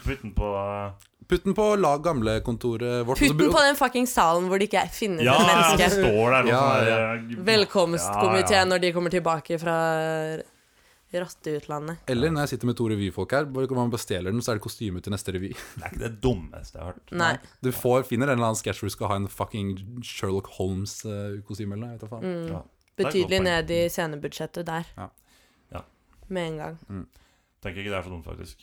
[SPEAKER 1] Putt den på
[SPEAKER 2] Putt den på la gamlekontoret vårt.
[SPEAKER 3] Putt
[SPEAKER 2] og så-
[SPEAKER 3] den på den fucking salen hvor det ikke finnes
[SPEAKER 1] Ja,
[SPEAKER 3] et
[SPEAKER 1] det
[SPEAKER 3] menneske.
[SPEAKER 1] står der noe
[SPEAKER 2] Ja,
[SPEAKER 1] sånn der,
[SPEAKER 2] ja.
[SPEAKER 1] eh,
[SPEAKER 3] Velkomstkomiteen
[SPEAKER 1] Ja, ja.
[SPEAKER 3] når de kommer tilbake fra rotteutlandet.
[SPEAKER 2] Eller når jeg sitter med to revyfolk her, bare man bestjeler den, så er det kostyme til neste revy.
[SPEAKER 1] Det er ikke det dummeste jeg har hørt.
[SPEAKER 3] Nei.
[SPEAKER 2] Du får, finner en eller annen sketsj hvor du skal ha en fucking Sherlock Holmes-kostyme eller noe. jeg vet da faen.
[SPEAKER 3] Mm.
[SPEAKER 1] Ja. Det er et godt
[SPEAKER 3] Betydelig
[SPEAKER 1] poeng.
[SPEAKER 3] ned i scenebudsjettet der.
[SPEAKER 2] Ja.
[SPEAKER 1] Ja.
[SPEAKER 3] Med en gang.
[SPEAKER 1] Tenker ikke det er så dumt, faktisk.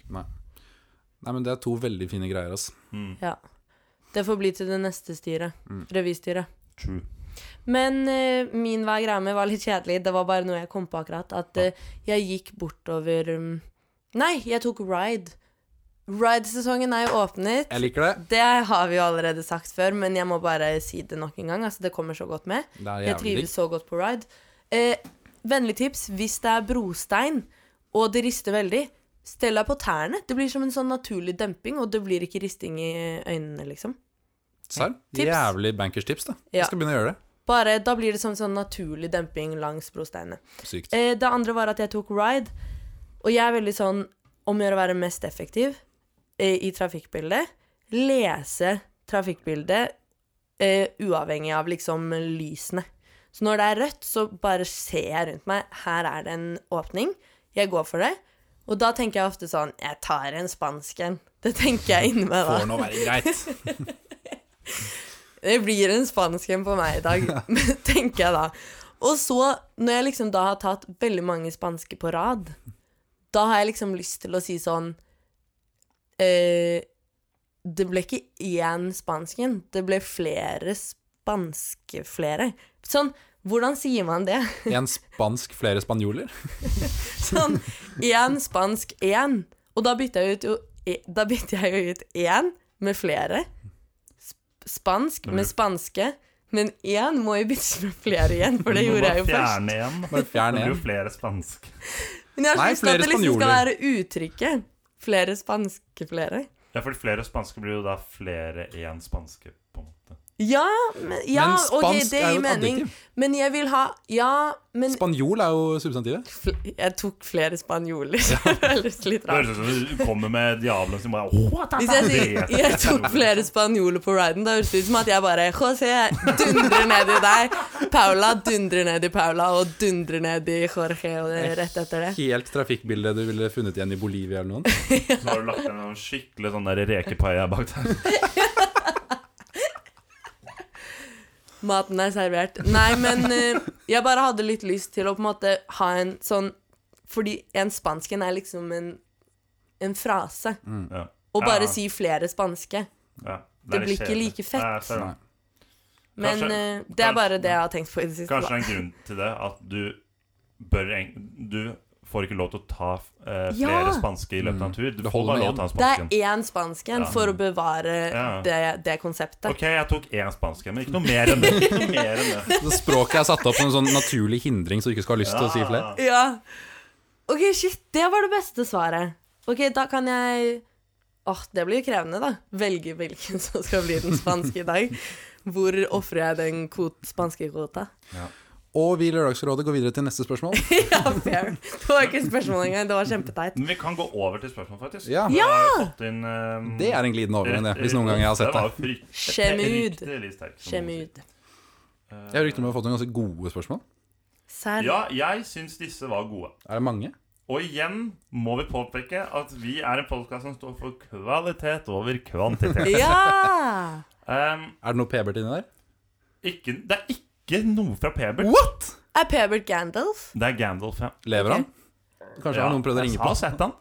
[SPEAKER 2] Nei, men det er to veldig fine greier, ass.
[SPEAKER 1] Mm.
[SPEAKER 3] Ja. Det får bli til det neste styret. Revystyret.
[SPEAKER 1] True.
[SPEAKER 3] Men eh, min hva er greia med var litt kjedelig. Det var bare noe jeg kom på akkurat. At eh, jeg gikk bortover um, Nei, jeg tok ride. Ride-sesongen er jo åpnet.
[SPEAKER 2] Jeg liker det.
[SPEAKER 3] Det har vi jo allerede sagt før, men jeg må bare si det nok en gang. Altså, det kommer så godt med.
[SPEAKER 2] Det er
[SPEAKER 3] Jeg
[SPEAKER 2] jævlig digg.
[SPEAKER 3] trives så godt på ride. Eh, vennlig tips hvis det er brostein og det rister veldig, stell deg på tærne. Det blir som en sånn naturlig demping, og det blir ikke risting i øynene, liksom.
[SPEAKER 2] Serr?
[SPEAKER 3] Tips.
[SPEAKER 2] Jævlig bankers-tips, da.
[SPEAKER 3] Ja.
[SPEAKER 2] Jeg skal begynne å gjøre det.
[SPEAKER 3] Bare, da blir det som sånn naturlig demping langs brosteinene.
[SPEAKER 2] Sykt.
[SPEAKER 3] Eh, det andre var at jeg tok ride, og jeg er veldig sånn om å gjøre å være mest effektiv eh, i trafikkbildet. Lese trafikkbildet eh, uavhengig av liksom lysene. Så når det er rødt, så bare ser jeg rundt meg. Her er det en åpning. Jeg går for det. Og da tenker jeg ofte sånn Jeg tar en spansk en. Det tenker jeg inni meg da.
[SPEAKER 2] Får nå være greit.
[SPEAKER 3] Det blir en spansk en på meg i dag, tenker jeg da. Og så, når jeg liksom da har tatt veldig mange spanske på rad, da har jeg liksom lyst til å si sånn eh, Det ble ikke én spansken, det ble flere spanske flere. Sånn, hvordan sier man det?
[SPEAKER 2] En spansk, flere spanjoler.
[SPEAKER 3] Sånn, én spansk én. Og da bytter jeg ut jo Da bytter jeg jo ut én med flere. Sp- Spansk med spanske. Men én må jo byttes med flere igjen, for det
[SPEAKER 1] Du må
[SPEAKER 3] gjorde
[SPEAKER 1] bare
[SPEAKER 3] jeg jo først.
[SPEAKER 1] Fjerne igjen.
[SPEAKER 2] Bare
[SPEAKER 1] Det
[SPEAKER 2] fjern
[SPEAKER 1] blir jo
[SPEAKER 2] en.
[SPEAKER 1] flere spansk.
[SPEAKER 3] Men jeg har
[SPEAKER 2] Nei,
[SPEAKER 3] ikke lyst til
[SPEAKER 2] flere
[SPEAKER 3] at det liksom skal
[SPEAKER 2] spanjoler.
[SPEAKER 3] være uttrykket. Flere spanske flere.
[SPEAKER 1] Ja, fordi flere spanske blir jo da flere én spanske, på en måte.
[SPEAKER 3] Ja, men, ja
[SPEAKER 2] Men
[SPEAKER 3] ok,
[SPEAKER 2] spansk
[SPEAKER 3] det
[SPEAKER 2] er jo
[SPEAKER 3] gir
[SPEAKER 2] et
[SPEAKER 3] mening.
[SPEAKER 2] adjektiv.
[SPEAKER 3] Men jeg vil ha Ja, men
[SPEAKER 2] Spanjol er jo substantivet.
[SPEAKER 3] fl- Jeg tok flere spanjoler. så det føles litt
[SPEAKER 1] Det
[SPEAKER 3] rart.
[SPEAKER 1] høres ut som du kommer med djavelen som bare oh, ta, ta,
[SPEAKER 3] Hvis jeg
[SPEAKER 1] det
[SPEAKER 3] sier
[SPEAKER 1] heter-
[SPEAKER 3] jeg tok flere spanjoler på riden, da høres det ut som at jeg bare José dundrer ned i deg, Paula dundrer ned i Paula, og dundrer ned i Jorge og det, rett etter det.
[SPEAKER 2] Helt trafikkbilde du ville funnet igjen i Bolivia eller noe.
[SPEAKER 1] Så har du lagt ned noen skikkelig sånn der rekepaia bak der.
[SPEAKER 3] Maten er servert. Nei, men eh, jeg bare hadde litt lyst til å på en måte ha en sånn Fordi en spansken er liksom en, en frase.
[SPEAKER 2] Mm.
[SPEAKER 1] Ja.
[SPEAKER 3] Og bare
[SPEAKER 1] Ja,
[SPEAKER 3] si flere spanske.
[SPEAKER 1] ja.
[SPEAKER 3] det
[SPEAKER 1] er litt
[SPEAKER 3] blir ikke
[SPEAKER 1] kjedelig.
[SPEAKER 3] like fett.
[SPEAKER 1] Nei, jeg ser det.
[SPEAKER 2] Nei.
[SPEAKER 3] Men
[SPEAKER 1] Kanskje-
[SPEAKER 3] eh, det er bare det jeg har tenkt på i det siste.
[SPEAKER 1] Kanskje det
[SPEAKER 3] da.
[SPEAKER 1] er en grunn til det at du bør eng- Du får ikke lov til å ta eh, flere
[SPEAKER 3] Ja.
[SPEAKER 1] spanske i løpet av en tur. Du
[SPEAKER 2] Det
[SPEAKER 1] får
[SPEAKER 2] holder
[SPEAKER 1] bare
[SPEAKER 2] med
[SPEAKER 1] lov til å ta en
[SPEAKER 3] Det
[SPEAKER 1] spansken.
[SPEAKER 3] er én spansken
[SPEAKER 1] Ja.
[SPEAKER 3] for å bevare
[SPEAKER 1] Ja.
[SPEAKER 3] det, det konseptet.
[SPEAKER 1] Ok, jeg tok én spansken, men ikke noe mer enn det. Ikke noe mer enn det.
[SPEAKER 2] Så språket er satt opp som en sånn naturlig hindring, så du ikke skal ha lyst til å si flere.
[SPEAKER 1] Ja.
[SPEAKER 3] Ja. OK, shit. Det var det beste svaret. OK, da kan jeg Åh, det blir krevende, da. Velge hvilken som skal bli den spanske i dag. Hvor ofrer jeg den kvot, spanske kvota?
[SPEAKER 2] Og vi i Lørdagsrådet går videre til neste spørsmål.
[SPEAKER 3] ja, fair. Det var ikke et spørsmål engang. Det var kjempeteit.
[SPEAKER 1] Men vi kan gå over til spørsmål, faktisk.
[SPEAKER 2] Ja,
[SPEAKER 1] Vi har jo fått inn, eh,
[SPEAKER 2] Det er en glidende overgang, det, hvis noen gang jeg har sett det.
[SPEAKER 1] var jo frykt-
[SPEAKER 3] Skjemud.
[SPEAKER 1] Riktig sterkt, som noen sier.
[SPEAKER 3] Skjemud.
[SPEAKER 2] Jeg har rykter om å ha fått noen ganske gode spørsmål.
[SPEAKER 3] Serr.
[SPEAKER 1] Ja, jeg syns disse var gode.
[SPEAKER 2] Er det mange?
[SPEAKER 1] Og igjen må vi påpeke at vi er en podkast som står for kvalitet over kvantitet.
[SPEAKER 3] Ja!
[SPEAKER 1] Ehm,
[SPEAKER 2] Er det noe Pebert inni der?
[SPEAKER 1] ikke, det er ikke noe fra Pebert.
[SPEAKER 2] What?!
[SPEAKER 3] Er Pebert Gandalf?
[SPEAKER 1] Det er Gandalf, ja.
[SPEAKER 2] Lever han? Kanskje
[SPEAKER 1] Ja,
[SPEAKER 2] har noen prøvd å
[SPEAKER 1] jeg
[SPEAKER 2] ringe
[SPEAKER 1] har
[SPEAKER 2] på?
[SPEAKER 1] sett han.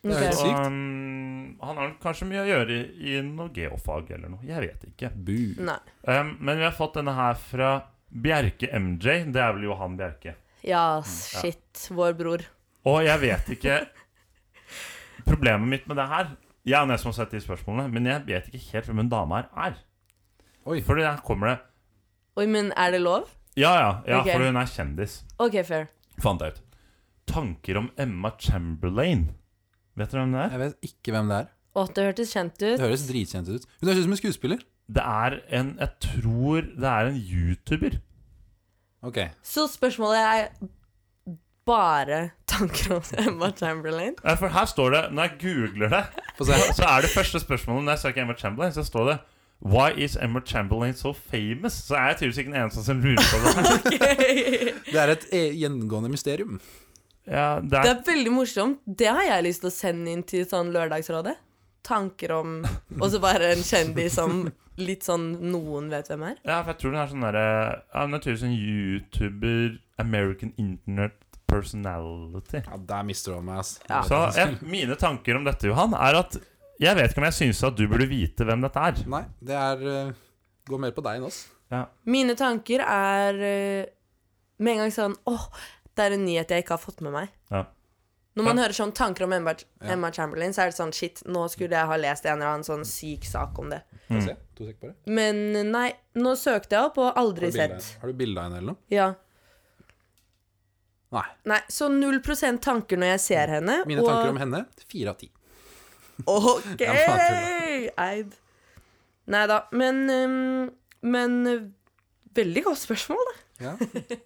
[SPEAKER 2] Det er
[SPEAKER 3] Ok.
[SPEAKER 2] helt
[SPEAKER 1] Og,
[SPEAKER 2] sykt.
[SPEAKER 1] um, han har kanskje mye å gjøre i, i noe geofag eller noe. Jeg vet ikke.
[SPEAKER 2] Bu.
[SPEAKER 3] Nei.
[SPEAKER 1] Ehm, men vi har fått denne her fra Bjerke MJ. Det er vel Johan Bjerke.
[SPEAKER 3] Ja, shit. Vår bror.
[SPEAKER 1] Og jeg vet ikke Problemet mitt med det her Jeg er den som har sett de spørsmålene, men jeg vet ikke helt hvem hun dama her er.
[SPEAKER 2] Oi.
[SPEAKER 1] Fordi her kommer det
[SPEAKER 3] Oi, men er det lov?
[SPEAKER 1] Ja, ja, ja
[SPEAKER 3] Ok.
[SPEAKER 1] for hun er kjendis.
[SPEAKER 3] OK, fair.
[SPEAKER 1] Fant jeg ut. Tanker om Emma Chamberlain. Vet dere hvem det er?
[SPEAKER 2] Jeg vet ikke hvem det er.
[SPEAKER 3] Å, det hørtes kjent
[SPEAKER 2] Det
[SPEAKER 3] ut.
[SPEAKER 2] høres dritkjent ut. Hun høres ut som en skuespiller.
[SPEAKER 1] Det er en Jeg tror det er en YouTuber.
[SPEAKER 2] Ok,
[SPEAKER 3] Så spørsmålet er bare tanker om Emma Chamberlain?
[SPEAKER 1] Ja, For her står det Når jeg googler det,
[SPEAKER 2] få se.
[SPEAKER 1] så er det første spørsmålet når jeg søker Emma Chamberlain, så står det Why is Emma Chamberlain so famous? Så er jeg tydeligvis ikke den eneste som lurer på det. her.
[SPEAKER 2] Det er et eh, gjengående mysterium.
[SPEAKER 1] Ja, det
[SPEAKER 3] Det
[SPEAKER 1] er,
[SPEAKER 3] er veldig morsomt. Det har jeg lyst til å sende inn til sånn Lørdagsrådet. Tanker om Og så bare en kjendis som litt sånn noen vet hvem er.
[SPEAKER 1] ja, for jeg tror den er sånn derre ja, Den er tydeligvis en sånn YouTuber, American Internet Personality.
[SPEAKER 2] Ja, Der mister du meg, ass.
[SPEAKER 3] Ja.
[SPEAKER 1] Så jeg, mine tanker om dette, Johan, er at jeg vet ikke om jeg syns at du burde vite hvem dette er.
[SPEAKER 2] Nei, det er eh, Går mer på deg enn oss.
[SPEAKER 3] Mine tanker er eh, med en gang sånn Åh, det er en nyhet jeg ikke har fått med meg.
[SPEAKER 1] Ja.
[SPEAKER 3] Når man hører sånn tanker om Emma,
[SPEAKER 2] Ja.
[SPEAKER 3] Emma Chamberlain, så er det sånn shit, nå skulle jeg ha lest en eller annen sånn syk sak om det.
[SPEAKER 2] Få se. To sek på det.
[SPEAKER 3] Men nei, nå søkte jeg opp og aldri
[SPEAKER 2] Har du bilde-
[SPEAKER 3] sett.
[SPEAKER 2] Har du bilde av henne eller noe?
[SPEAKER 3] Ja.
[SPEAKER 2] Nei.
[SPEAKER 3] Nei, så 0 tanker når jeg ser henne.
[SPEAKER 2] Mm. Mine
[SPEAKER 3] og-
[SPEAKER 2] tanker om henne fire av ti.
[SPEAKER 3] OK!
[SPEAKER 2] Jeg bare
[SPEAKER 3] Eid. Nei da. Men, um, men uh, Veldig godt spørsmål, da.
[SPEAKER 2] Ja.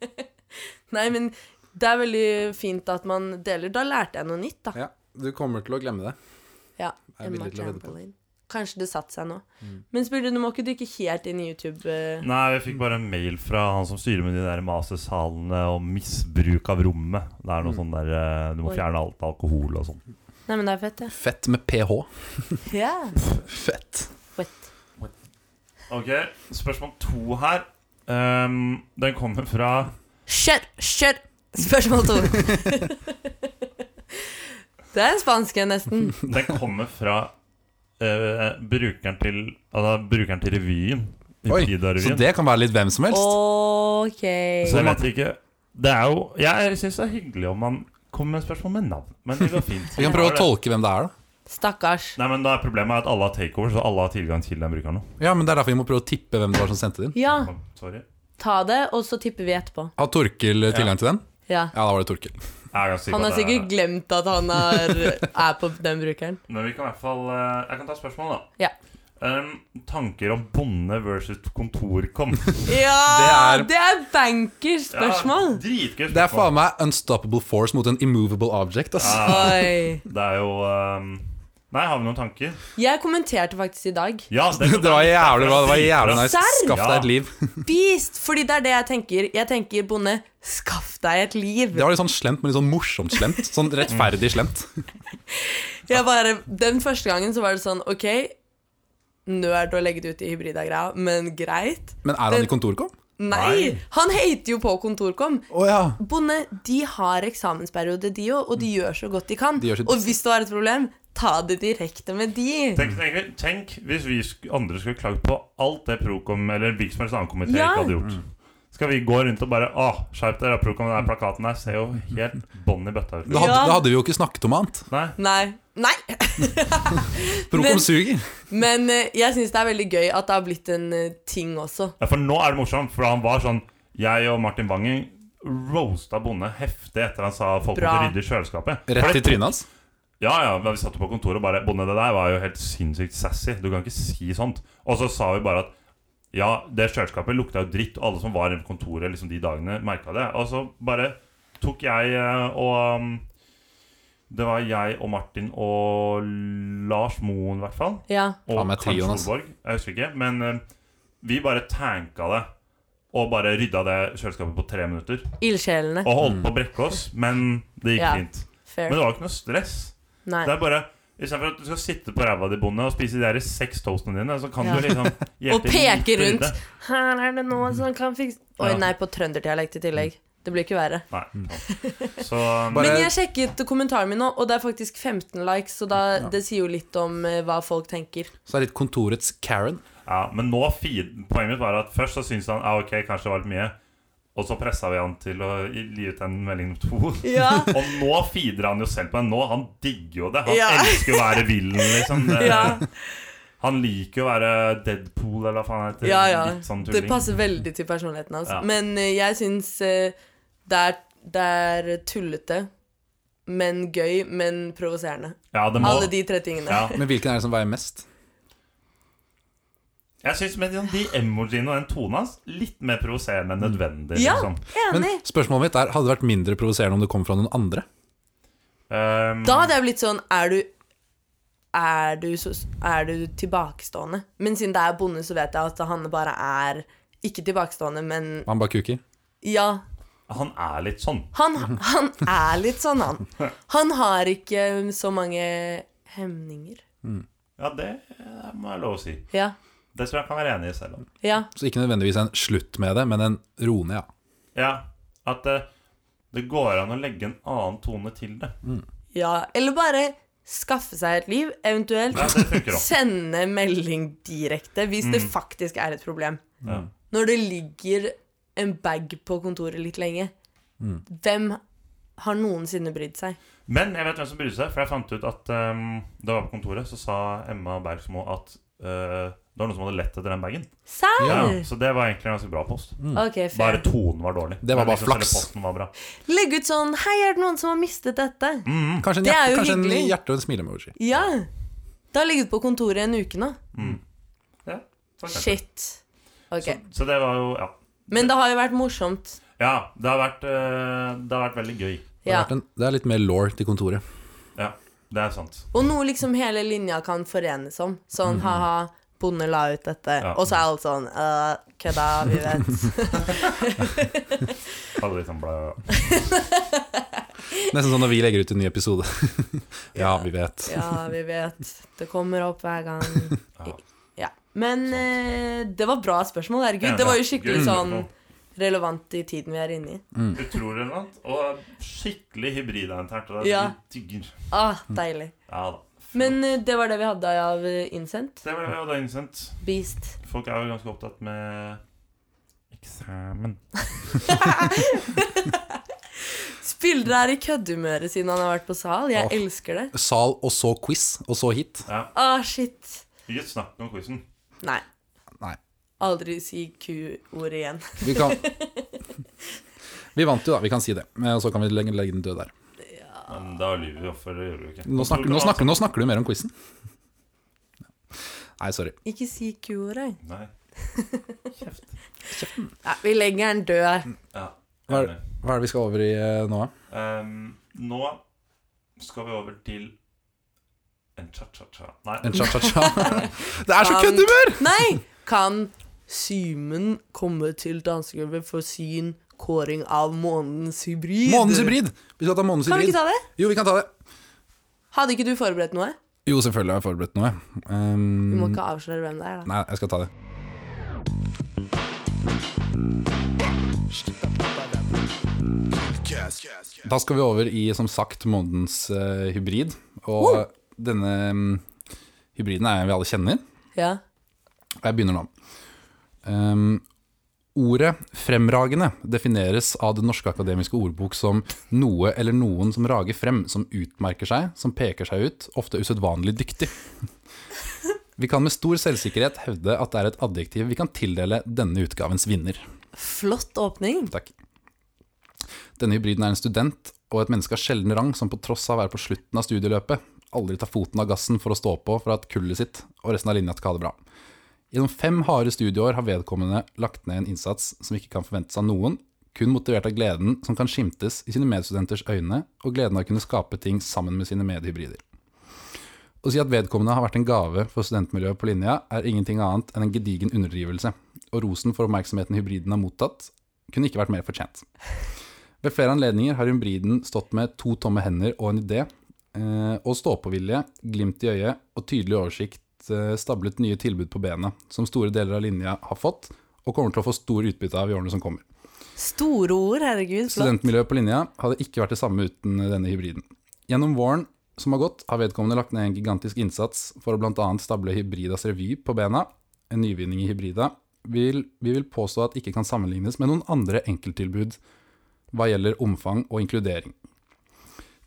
[SPEAKER 3] Nei, men det er veldig fint at man deler. Da lærte jeg noe nytt, da.
[SPEAKER 2] ja. Du kommer til å glemme det.
[SPEAKER 3] Ja,
[SPEAKER 2] Jeg er
[SPEAKER 3] Emma
[SPEAKER 2] villig til å vedde på. Mm.
[SPEAKER 3] Chamberlain. Kanskje det satte seg nå. Men spurte, du må ikke dykke helt inn i YouTube. eh.
[SPEAKER 1] Nei, vi fikk bare en mail fra han som styrer med de der mastersalene og misbruk av rommet. Det er noe sånn der eh, Du må
[SPEAKER 3] Oi.
[SPEAKER 1] fjerne alt alkohol og sånn.
[SPEAKER 3] Nei, men det er fett, det.
[SPEAKER 2] Fett med ph.
[SPEAKER 3] Ja.
[SPEAKER 2] Fett.
[SPEAKER 3] Fett.
[SPEAKER 1] Ok, spørsmål to her. Ehm, den kommer fra
[SPEAKER 3] Kjør! Kjør! Spørsmål to. det er en spansk en, nesten.
[SPEAKER 1] Den kommer fra eh, brukeren til Altså brukeren til revyen.
[SPEAKER 2] Oi, så
[SPEAKER 1] Hybrida-revyen.
[SPEAKER 2] det kan være litt hvem som helst.
[SPEAKER 3] OK.
[SPEAKER 1] Så jeg vet ikke Det er jo Jeg syns det er hyggelig om man kommer med spørsmål med navn, men det går fint.
[SPEAKER 2] Vi kan prøve å tolke hvem det er, da.
[SPEAKER 3] Stakkars.
[SPEAKER 1] Nei, men da er Problemet at alle har takeover, så alle har tilgang til den brukeren nå.
[SPEAKER 2] Ja, men Det er derfor vi må prøve å tippe hvem det var som sendte det inn.
[SPEAKER 3] Ja,
[SPEAKER 1] Sorry.
[SPEAKER 3] ta det, og så tipper vi etterpå.
[SPEAKER 2] Har Torkil eh, tilgang til den?
[SPEAKER 3] Ja.
[SPEAKER 2] Ja, da var det Torkil.
[SPEAKER 1] Jeg er ganske sikker på at
[SPEAKER 3] Han har
[SPEAKER 1] det er-
[SPEAKER 3] sikkert glemt at han er, er på den brukeren.
[SPEAKER 1] Men vi kan i hvert fall eh, Jeg kan ta spørsmål, da.
[SPEAKER 3] Ja.
[SPEAKER 1] ehm, tanker om bonde versus kontorkom.
[SPEAKER 3] Ja!
[SPEAKER 2] Det er-
[SPEAKER 3] Det er bankers-spørsmål!
[SPEAKER 1] Ja, Dritgøy
[SPEAKER 2] Det er
[SPEAKER 1] spørsmål.
[SPEAKER 2] faen meg unstoppable force mot en immovable object, ass.
[SPEAKER 3] Ah. Oi.
[SPEAKER 1] Det er jo ehm, Nei, har vi noen tanker?
[SPEAKER 3] Jeg kommenterte faktisk i dag.
[SPEAKER 1] Ja,
[SPEAKER 2] Det var jævlig bra. det var jævlig nice
[SPEAKER 3] Serr?
[SPEAKER 2] Skaff deg
[SPEAKER 1] Ja.
[SPEAKER 2] et liv.
[SPEAKER 3] Beast! Fordi det er det jeg tenker. Jeg tenker, bonde, skaff deg et liv.
[SPEAKER 2] Det var litt sånn slemt, men litt sånn morsomt slemt. Sånn rettferdig slemt.
[SPEAKER 3] Jeg bare, den første gangen så var det sånn, ok, nerd å legge det ut i hybrida greia, men greit.
[SPEAKER 2] Men er han
[SPEAKER 3] Det-
[SPEAKER 2] i kontorkom?
[SPEAKER 3] Nei, han hater jo på kontorkom.
[SPEAKER 2] Å ja.
[SPEAKER 3] Bonde, de har eksamensperiode, de òg, og de gjør så godt de kan.
[SPEAKER 2] De gjør sitt
[SPEAKER 3] og
[SPEAKER 2] beste.
[SPEAKER 3] hvis det var et problem, ta det direkte med de.
[SPEAKER 1] Tenk, tenk, tenk hvis vi sk andre skulle klagd på alt det Procom eller hvilken som helst annen komité
[SPEAKER 3] Ja.
[SPEAKER 1] ikke hadde gjort.
[SPEAKER 2] Mm.
[SPEAKER 1] Skal vi gå rundt og bare Å, skjerp dere, Procom, den der plakaten der ser jo helt
[SPEAKER 2] Mm.
[SPEAKER 1] bånn i bøtta ut.
[SPEAKER 2] Da hadde,
[SPEAKER 3] Ja.
[SPEAKER 2] da hadde vi jo ikke snakket om annet.
[SPEAKER 1] Nei.
[SPEAKER 3] Nei. Nei. Men-
[SPEAKER 2] Prokom suger.
[SPEAKER 3] Men eh, jeg syns det er veldig gøy at det har blitt en eh, ting også.
[SPEAKER 1] Ja, for nå er det morsomt, for han var sånn Jeg og Martin Bangen roasta Bonde heftig etter han sa folk
[SPEAKER 3] Bra.
[SPEAKER 1] måtte rydde i kjøleskapet. For
[SPEAKER 2] Rett i
[SPEAKER 1] det-
[SPEAKER 2] trynet hans.
[SPEAKER 1] Ja, ja, men vi satt jo på kontoret og bare Bonde, det der var jo helt sinnssykt sassy. Du kan ikke si sånt. Og så sa vi bare at ja, det kjøleskapet lukta jo dritt, og alle som var inne på kontoret liksom de dagene, merka det. Og så bare tok jeg eh, og um, Det var jeg og Martin og Lars Moen, i hvert fall.
[SPEAKER 3] Ja.
[SPEAKER 1] Og
[SPEAKER 2] Faen meg
[SPEAKER 1] kanskje
[SPEAKER 2] trioen, ass.
[SPEAKER 1] Solborg. Jeg husker ikke. Men eh, vi bare tanka det. Og bare rydda det kjøleskapet på tre minutter.
[SPEAKER 3] Ildsjelene.
[SPEAKER 1] Og holdt på å brekke oss, men det gikk
[SPEAKER 3] Ja.
[SPEAKER 1] fint. Men
[SPEAKER 3] Fair.
[SPEAKER 1] det var ikke noe stress.
[SPEAKER 3] Nei.
[SPEAKER 1] Det er bare Istedenfor at du skal sitte på ræva di, bonde, og spise de der seks toastene dine, så kan
[SPEAKER 3] Ja.
[SPEAKER 1] du liksom hjelpe
[SPEAKER 3] Og peke
[SPEAKER 1] litt
[SPEAKER 3] rundt.
[SPEAKER 1] videre.
[SPEAKER 3] Her er det noen som kan fikse Oi,
[SPEAKER 1] Ja.
[SPEAKER 3] nei, på trønderdialekt i tillegg. Det blir ikke verre.
[SPEAKER 1] Nei. sant. Så um,
[SPEAKER 2] Bare-
[SPEAKER 3] Men jeg sjekket kommentaren min nå, og det er faktisk 15 likes, så da, det sier jo litt om eh, hva folk tenker.
[SPEAKER 2] Så er det litt kontorets Karen.
[SPEAKER 1] Ja, men nå feed, Poenget mitt var at først så syntes han ah, ok, kanskje det var litt mye. Og så pressa vi han til å gi ut en melding om to.
[SPEAKER 3] Ja.
[SPEAKER 1] Og nå feeder han jo selv på den. Nå, Han digger jo det. Han
[SPEAKER 3] Ja.
[SPEAKER 1] elsker å være villen, liksom. Det,
[SPEAKER 3] Ja.
[SPEAKER 1] Han liker jo å være Deadpool, eller hva faen han heter.
[SPEAKER 3] Ja, ja.
[SPEAKER 1] Litt sånn
[SPEAKER 3] Det
[SPEAKER 1] tulling.
[SPEAKER 3] passer veldig til personligheten hans.
[SPEAKER 1] Ja.
[SPEAKER 3] Men eh, jeg syns eh, det, er- det er tullete, men gøy, men provoserende.
[SPEAKER 1] Ja, det må,
[SPEAKER 3] Alle de tre tingene.
[SPEAKER 1] ja.
[SPEAKER 2] Men hvilken er det som veier mest?
[SPEAKER 1] Jeg syns med de, de emojiene og den tonen hans litt mer provoserende enn nødvendig.
[SPEAKER 3] Mm. Ja.
[SPEAKER 1] Liksom.
[SPEAKER 2] Men
[SPEAKER 3] Enig.
[SPEAKER 2] spørsmålet mitt er, hadde det vært mindre provoserende om det kom fra noen andre?
[SPEAKER 1] Um,
[SPEAKER 3] Da hadde jeg blitt sånn Er du er du, så, er du tilbakestående? Men siden det er bonde, så vet jeg at han bare er ikke tilbakestående, men
[SPEAKER 2] Han bare kuker.
[SPEAKER 3] ja.
[SPEAKER 1] han er litt sånn.
[SPEAKER 3] Han, han er litt sånn, han. Han har ikke så mange hemninger.
[SPEAKER 1] Ja, det eh, må jeg lov å si.
[SPEAKER 3] Ja.
[SPEAKER 1] Det tror jeg jeg kan være enig i selv om.
[SPEAKER 3] Ja.
[SPEAKER 2] Så ikke nødvendigvis en slutt med det, men en ro ned, ja.
[SPEAKER 1] Ja, at det, det går an å legge en annen tone til det.
[SPEAKER 3] ja. Eller bare skaffe seg et liv, eventuelt
[SPEAKER 1] Ja, Mm. det funker også.
[SPEAKER 3] sende melding direkte hvis det faktisk er et problem.
[SPEAKER 1] Ja.
[SPEAKER 3] Når det ligger en bag på kontoret litt lenge,
[SPEAKER 1] Mm.
[SPEAKER 3] hvem har noensinne brydd seg?
[SPEAKER 1] Men jeg vet hvem som brydde seg, for jeg fant ut at um, da jeg var på kontoret, så sa Emma Bergsmo at eh, det var noen som hadde lett etter den bagen.
[SPEAKER 3] Serr?
[SPEAKER 1] Ja, så det var egentlig en ganske bra post.
[SPEAKER 3] Ok, fair.
[SPEAKER 1] Bare tonen var dårlig.
[SPEAKER 2] Det var
[SPEAKER 1] Men
[SPEAKER 2] bare
[SPEAKER 1] liksom selve
[SPEAKER 2] flaks.
[SPEAKER 1] Posten var bra.
[SPEAKER 3] Legg ut sånn 'Hei, er det noen som har mistet dette?'
[SPEAKER 1] Mm.
[SPEAKER 2] Kanskje en,
[SPEAKER 3] Det er
[SPEAKER 2] hjerte,
[SPEAKER 3] jo
[SPEAKER 2] kanskje en
[SPEAKER 3] hyggelig.
[SPEAKER 2] hjerte og en smilemoji.
[SPEAKER 3] Ja. Det har ligget på kontoret en uke nå.
[SPEAKER 1] Ja, så kanskje.
[SPEAKER 3] Shit. Ok.
[SPEAKER 1] Så, så det var jo Ja.
[SPEAKER 3] Men det har jo vært morsomt.
[SPEAKER 1] ja det, har vært, eh, det har vært veldig gøy.
[SPEAKER 2] Det, har
[SPEAKER 3] Ja.
[SPEAKER 2] vært en, det er litt mer law til kontoret.
[SPEAKER 1] Ja, det er sant.
[SPEAKER 3] Og noe liksom hele linja kan forenes om. Sånn ha-ha, bonde la ut dette.
[SPEAKER 1] Mhm. Ja.
[SPEAKER 3] Og så er alt sånn «Øh, kødda, vi vet.
[SPEAKER 1] Hadde litt sånn bla-
[SPEAKER 2] Nesten sånn når vi legger ut en ny episode. ja, vi vet.
[SPEAKER 3] Ja, vi vet. Det kommer opp hver gang.
[SPEAKER 1] Ja.
[SPEAKER 3] Ja. Men eh, det var bra spørsmål, herregud. Det var jo skikkelig
[SPEAKER 1] Gøy
[SPEAKER 3] sånn
[SPEAKER 1] spørsmål.
[SPEAKER 3] relevant i tiden vi er inne i.
[SPEAKER 1] Utrolig relevant. Og skikkelig hybridernt. Og det er
[SPEAKER 3] Ja.
[SPEAKER 1] vi digger.
[SPEAKER 3] Ah,
[SPEAKER 1] Mm.
[SPEAKER 3] deilig.
[SPEAKER 1] Ja da.
[SPEAKER 3] Men eh, det var det vi hadde av eh, innsendt.
[SPEAKER 1] Det var jo da innsendt.
[SPEAKER 3] Beast.
[SPEAKER 1] Folk er jo ganske opptatt med eksamen.
[SPEAKER 3] Spiller er i køddehumøret siden han har vært på sal. Jeg
[SPEAKER 2] Åh.
[SPEAKER 3] elsker det.
[SPEAKER 2] Sal, og så quiz, og så hit.
[SPEAKER 1] Ja.
[SPEAKER 3] Ah, shit.
[SPEAKER 1] Ikke snakk om quizen.
[SPEAKER 3] Nei.
[SPEAKER 2] Nei.
[SPEAKER 3] Aldri si Q-ordet igjen.
[SPEAKER 2] Vi kan Vi vant jo, da. Vi kan si det. Eh, Og så kan vi legge, legge den død der.
[SPEAKER 1] Men da lyver vi, for det gjør vi jo ikke.
[SPEAKER 2] Nå snakker, nå, snakker, nå snakker du mer om quizen. Nei, sorry.
[SPEAKER 3] Ikke si kuordet.
[SPEAKER 1] Nei. Kjeft.
[SPEAKER 3] Nei, vi legger den død her.
[SPEAKER 1] Ja.
[SPEAKER 2] Hva er
[SPEAKER 1] enig.
[SPEAKER 2] Hva er det vi skal over i eh, nå?
[SPEAKER 1] Ehm, nå skal vi over til en cha-cha-cha. Nei.
[SPEAKER 2] En cha-cha-cha? det er så
[SPEAKER 3] Kan-
[SPEAKER 2] køddehumør!
[SPEAKER 3] Nei! Kan Simen komme til dansegulvet for sin kåring av månedens hybrid?
[SPEAKER 2] Månens hybrid! Vi skal ta månens
[SPEAKER 3] Kan vi
[SPEAKER 2] hybrid.
[SPEAKER 3] ikke ta det?
[SPEAKER 2] Jo, vi kan ta det.
[SPEAKER 3] Hadde ikke du forberedt noe?
[SPEAKER 2] Jo, selvfølgelig har jeg forberedt noe. Um,
[SPEAKER 3] Du må ikke avsløre hvem det er, da.
[SPEAKER 2] Nei, jeg skal ta det. Da skal vi over i, som sagt, månedens eh, hybrid. Og denne mm, hybriden er en vi alle kjenner.
[SPEAKER 3] Ja.
[SPEAKER 2] Og jeg begynner nå. Ehm, ordet 'fremragende' defineres av Det norske akademiske ordbok som noe eller noen som rager frem, som utmerker seg, som peker seg ut, ofte usedvanlig dyktig. Vi kan med stor selvsikkerhet hevde at det er et adjektiv vi kan tildele denne utgavens vinner.
[SPEAKER 3] Flott åpning.
[SPEAKER 2] Takk. Denne hybriden er en student og et menneske av sjelden rang som på tross av å være på slutten av studieløpet aldri tar foten av gassen for å stå på for at kullet sitt og resten av linja skal ha det bra. Gjennom fem harde studieår har vedkommende lagt ned en innsats som ikke kan forventes av noen, kun motivert av gleden som kan skimtes i sine medstudenters øyne, og gleden av å kunne skape ting sammen med sine medhybrider. Å si at vedkommende har vært en gave for studentmiljøet på linja, er ingenting annet enn en gedigen underdrivelse, og rosen for oppmerksomheten hybriden har mottatt, kunne ikke vært mer fortjent. Ved flere anledninger har hybriden stått med to tomme hender og en idé, eh, og ståpåvilje, glimt i øyet og tydelig oversikt eh, stablet nye tilbud på benet, som store deler av linja har fått, og kommer til å få stor utbytte av i årene som kommer.
[SPEAKER 3] Store ord, herregud. Flott.
[SPEAKER 2] Studentmiljøet på linja hadde ikke vært det samme uten denne hybriden. Gjennom våren som har gått, har vedkommende lagt ned en gigantisk innsats for å bl.a. stable Hybridas revy på bena, en nyvinning i Hybrida. Vil, vi vil påstå at ikke kan sammenlignes med noen andre enkelttilbud hva gjelder omfang og inkludering.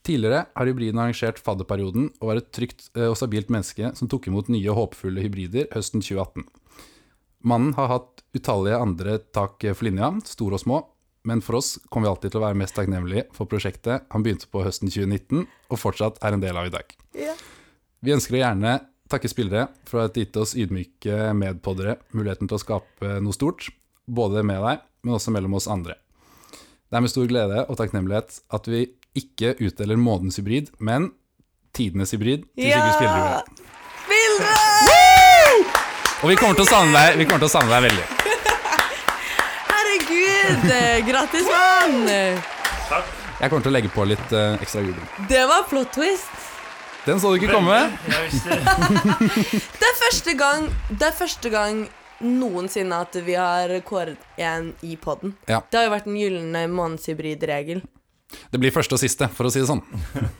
[SPEAKER 2] Tidligere har hybriden arrangert fadderperioden og var et trygt eh, og stabilt menneske som tok imot nye håpefulle hybrider høsten 2018. Mannen har hatt utallige andre tak for linja, store og små, men for oss kommer vi alltid til å være mest takknemlige for prosjektet han begynte på høsten 2019, og fortsatt er en del av i dag.
[SPEAKER 3] Ja.
[SPEAKER 2] Vi ønsker å gjerne takke spillere for å ha gitt oss ydmyke medpoddere muligheten til å skape noe stort, både med deg, men også mellom oss andre. Det er med stor glede og takknemlighet at vi ikke utdeler månedens hybrid, men tidenes hybrid til Sigurd Spillerud.
[SPEAKER 3] Spillere!
[SPEAKER 2] Og vi kommer til å savne deg, vi kommer til å savne deg veldig.
[SPEAKER 3] Herregud! eh, Grattis, mann!
[SPEAKER 1] Takk.
[SPEAKER 2] Jeg kommer til å legge på litt eh, ekstra juling.
[SPEAKER 3] Det var plot twist.
[SPEAKER 2] Den så du ikke komme.
[SPEAKER 1] Jeg visste
[SPEAKER 3] Det er første gang, det er første gang noensinne at vi har kåret en i poden.
[SPEAKER 2] Ja.
[SPEAKER 3] Det har jo vært den gylne månedshybridregel.
[SPEAKER 2] Det blir første og siste, for å si det sånn.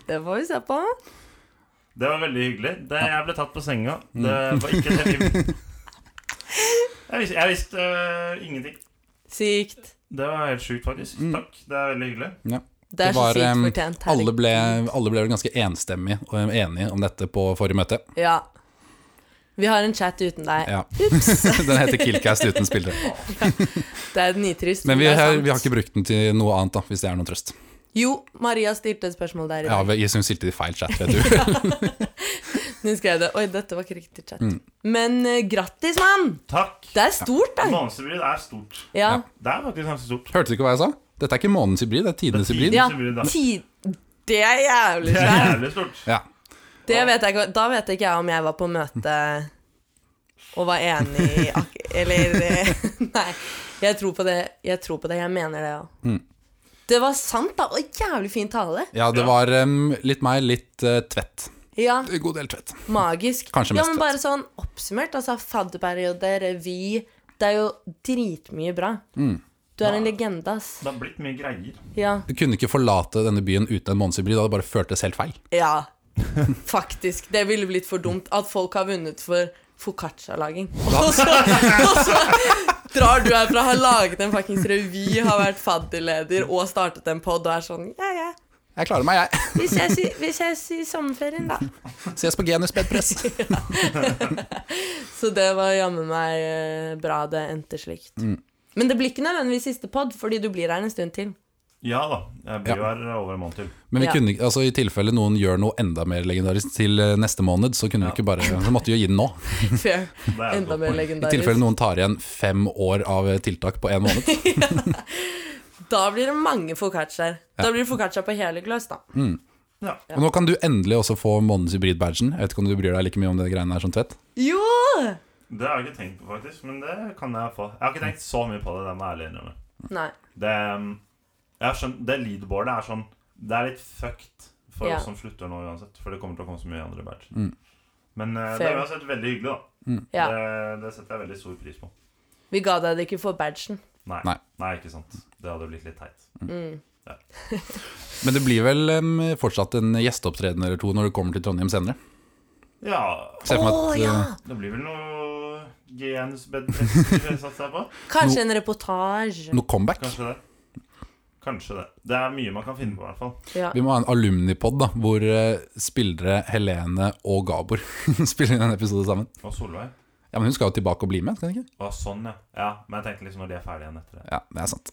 [SPEAKER 3] Det får vi se på.
[SPEAKER 1] Det var veldig hyggelig. Det, jeg ble tatt på senga. Det var ikke det vi Jeg visste, jeg visste øh, ingenting.
[SPEAKER 3] Sykt.
[SPEAKER 1] Det var helt sjukt, faktisk. Takk. Det er veldig hyggelig.
[SPEAKER 2] Ja.
[SPEAKER 3] Det er
[SPEAKER 2] Det var,
[SPEAKER 3] så sykt
[SPEAKER 2] em,
[SPEAKER 3] fortjent. herregud.
[SPEAKER 2] Alle ble, alle ble vel ganske enstemmige og enige om dette på forrige møte.
[SPEAKER 3] Ja. Vi har en chat uten deg.
[SPEAKER 2] Ja. den heter Killcast uten spillere.
[SPEAKER 3] Det er nitrist.
[SPEAKER 2] Men vi
[SPEAKER 3] det er
[SPEAKER 2] har,
[SPEAKER 3] sant.
[SPEAKER 2] vi har ikke brukt den til noe annet, da, hvis det er noen trøst.
[SPEAKER 3] Jo, Maria stilte et spørsmål der i
[SPEAKER 2] Ja,
[SPEAKER 3] dag.
[SPEAKER 2] jeg syns stilte de feil chat, vet du.
[SPEAKER 3] Hun skrev det. Oi, dette var ikke riktig chat.
[SPEAKER 2] Mm.
[SPEAKER 3] Men eh, grattis, mann!
[SPEAKER 1] Takk.
[SPEAKER 3] Det er stort, da.
[SPEAKER 1] Månedsbryd er stort.
[SPEAKER 3] Ja.
[SPEAKER 1] Det er faktisk ganske stort.
[SPEAKER 2] Hørte du ikke hva jeg sa? Dette er ikke månedens hybrid, det er tidenes
[SPEAKER 1] Det er
[SPEAKER 2] hybrid.
[SPEAKER 1] tiden.
[SPEAKER 3] ja.
[SPEAKER 1] Månedsbryd, da.
[SPEAKER 3] Ti... Det er jævlig
[SPEAKER 1] Det er
[SPEAKER 3] svært.
[SPEAKER 1] jævlig stort.
[SPEAKER 2] Ja.
[SPEAKER 3] Det vet jeg ikke, da vet ikke jeg om jeg var på møte og var enig i ak- Eller Nei. Jeg tror på det. Jeg tror på det. Jeg mener det òg.
[SPEAKER 2] Mm.
[SPEAKER 3] Det var sant, da. Og jævlig fin tale.
[SPEAKER 2] ja, det var em, litt meg, litt eh, tvett.
[SPEAKER 3] Ja,
[SPEAKER 2] God del tvett.
[SPEAKER 3] magisk.
[SPEAKER 2] Kanskje
[SPEAKER 3] ja,
[SPEAKER 2] mest
[SPEAKER 3] men bare sånn oppsummert. Altså, fadderperiode, revy Det er jo dritmye bra.
[SPEAKER 2] Mm.
[SPEAKER 3] Du er en legende, ass.
[SPEAKER 1] Det har blitt mye greier.
[SPEAKER 3] Ja.
[SPEAKER 2] Du kunne ikke forlate denne byen uten en månedshybrid, det hadde bare føltes helt feil.
[SPEAKER 3] Ja, faktisk. Det ville blitt for dumt at folk har vunnet for foccaccia-laging. Og, så- og så drar du herfra, har laget en fuckings revy, har vært fadderleder og startet en pod og er sånn Ja, ja.
[SPEAKER 2] Jeg klarer meg, jeg.
[SPEAKER 3] Vi ses i, vi ses i sommerferien, da.
[SPEAKER 2] Ses på Genus Bedpress.
[SPEAKER 3] Så det var jammen meg
[SPEAKER 1] Mm.
[SPEAKER 3] eh, bra det endte slikt. Men det blir ikke nødvendigvis siste pod, fordi du blir her en stund til.
[SPEAKER 1] Ja da. Jeg blir jo
[SPEAKER 2] Ja.
[SPEAKER 1] her over en måned til.
[SPEAKER 2] Men vi
[SPEAKER 3] Ja.
[SPEAKER 2] kunne ikke, altså i tilfelle noen gjør noe enda mer legendarisk til eh, neste måned, så kunne
[SPEAKER 1] Ja.
[SPEAKER 2] vi ikke bare Så måtte vi jo gi den nå.
[SPEAKER 3] Fair.
[SPEAKER 1] Det er et
[SPEAKER 3] Enda
[SPEAKER 1] godt
[SPEAKER 3] mer
[SPEAKER 1] poeng.
[SPEAKER 2] I tilfelle
[SPEAKER 3] legendarisk.
[SPEAKER 2] noen tar igjen fem år av eh, tiltak på én måned.
[SPEAKER 3] Da blir det mange focacciaer. Da blir det focaccia på hele glass, da.
[SPEAKER 1] Mm. Ja.
[SPEAKER 2] Og nå kan du endelig også få månedens hybrid-badgen. Jeg vet ikke om du bryr deg like mye om det greiene her som Tvedt.
[SPEAKER 3] Jo!
[SPEAKER 1] Det har jeg ikke tenkt på, faktisk. Men det kan jeg få. Jeg har ikke tenkt så mye på det. Det må jeg ærlig innrømme.
[SPEAKER 3] Nei.
[SPEAKER 1] Det, um, jeg har skjønt, det leadboardet er sånn Det er litt fucked for
[SPEAKER 3] Ja.
[SPEAKER 1] oss som slutter nå uansett. For det kommer til å komme så mye andre badger.
[SPEAKER 2] Mm.
[SPEAKER 1] Men uh, det
[SPEAKER 3] Fair.
[SPEAKER 1] er uansett veldig hyggelig, da.
[SPEAKER 3] Ja.
[SPEAKER 1] Det, det setter jeg veldig stor pris på.
[SPEAKER 3] Vi ga deg det ikke for badgen.
[SPEAKER 1] Nei. Nei.
[SPEAKER 2] Nei.
[SPEAKER 1] ikke sant. Det hadde blitt litt teit.
[SPEAKER 2] Men det blir vel em, fortsatt en gjesteopptreden eller to når du kommer til Trondheim senere.
[SPEAKER 1] Ja,
[SPEAKER 2] Se for meg at, eh,
[SPEAKER 1] det blir vel noe GNs-bed satser jeg på.
[SPEAKER 3] Kanskje en reportasje.
[SPEAKER 2] noe comeback.
[SPEAKER 1] Kanskje det. Kanskje det. Det er mye man kan finne på, i hvert fall.
[SPEAKER 3] Ja.
[SPEAKER 2] Vi må ha en alumnipod da, hvor eh, spillere Helene og Gabor spiller inn en episode sammen.
[SPEAKER 1] Og Solveig.
[SPEAKER 2] Ja, Men hun skal jo tilbake og bli med, skal hun ikke?
[SPEAKER 1] Å, sånn, ja. ja. Men jeg tenkte liksom når de er ferdige igjen etter det.
[SPEAKER 2] Ja, det er sant.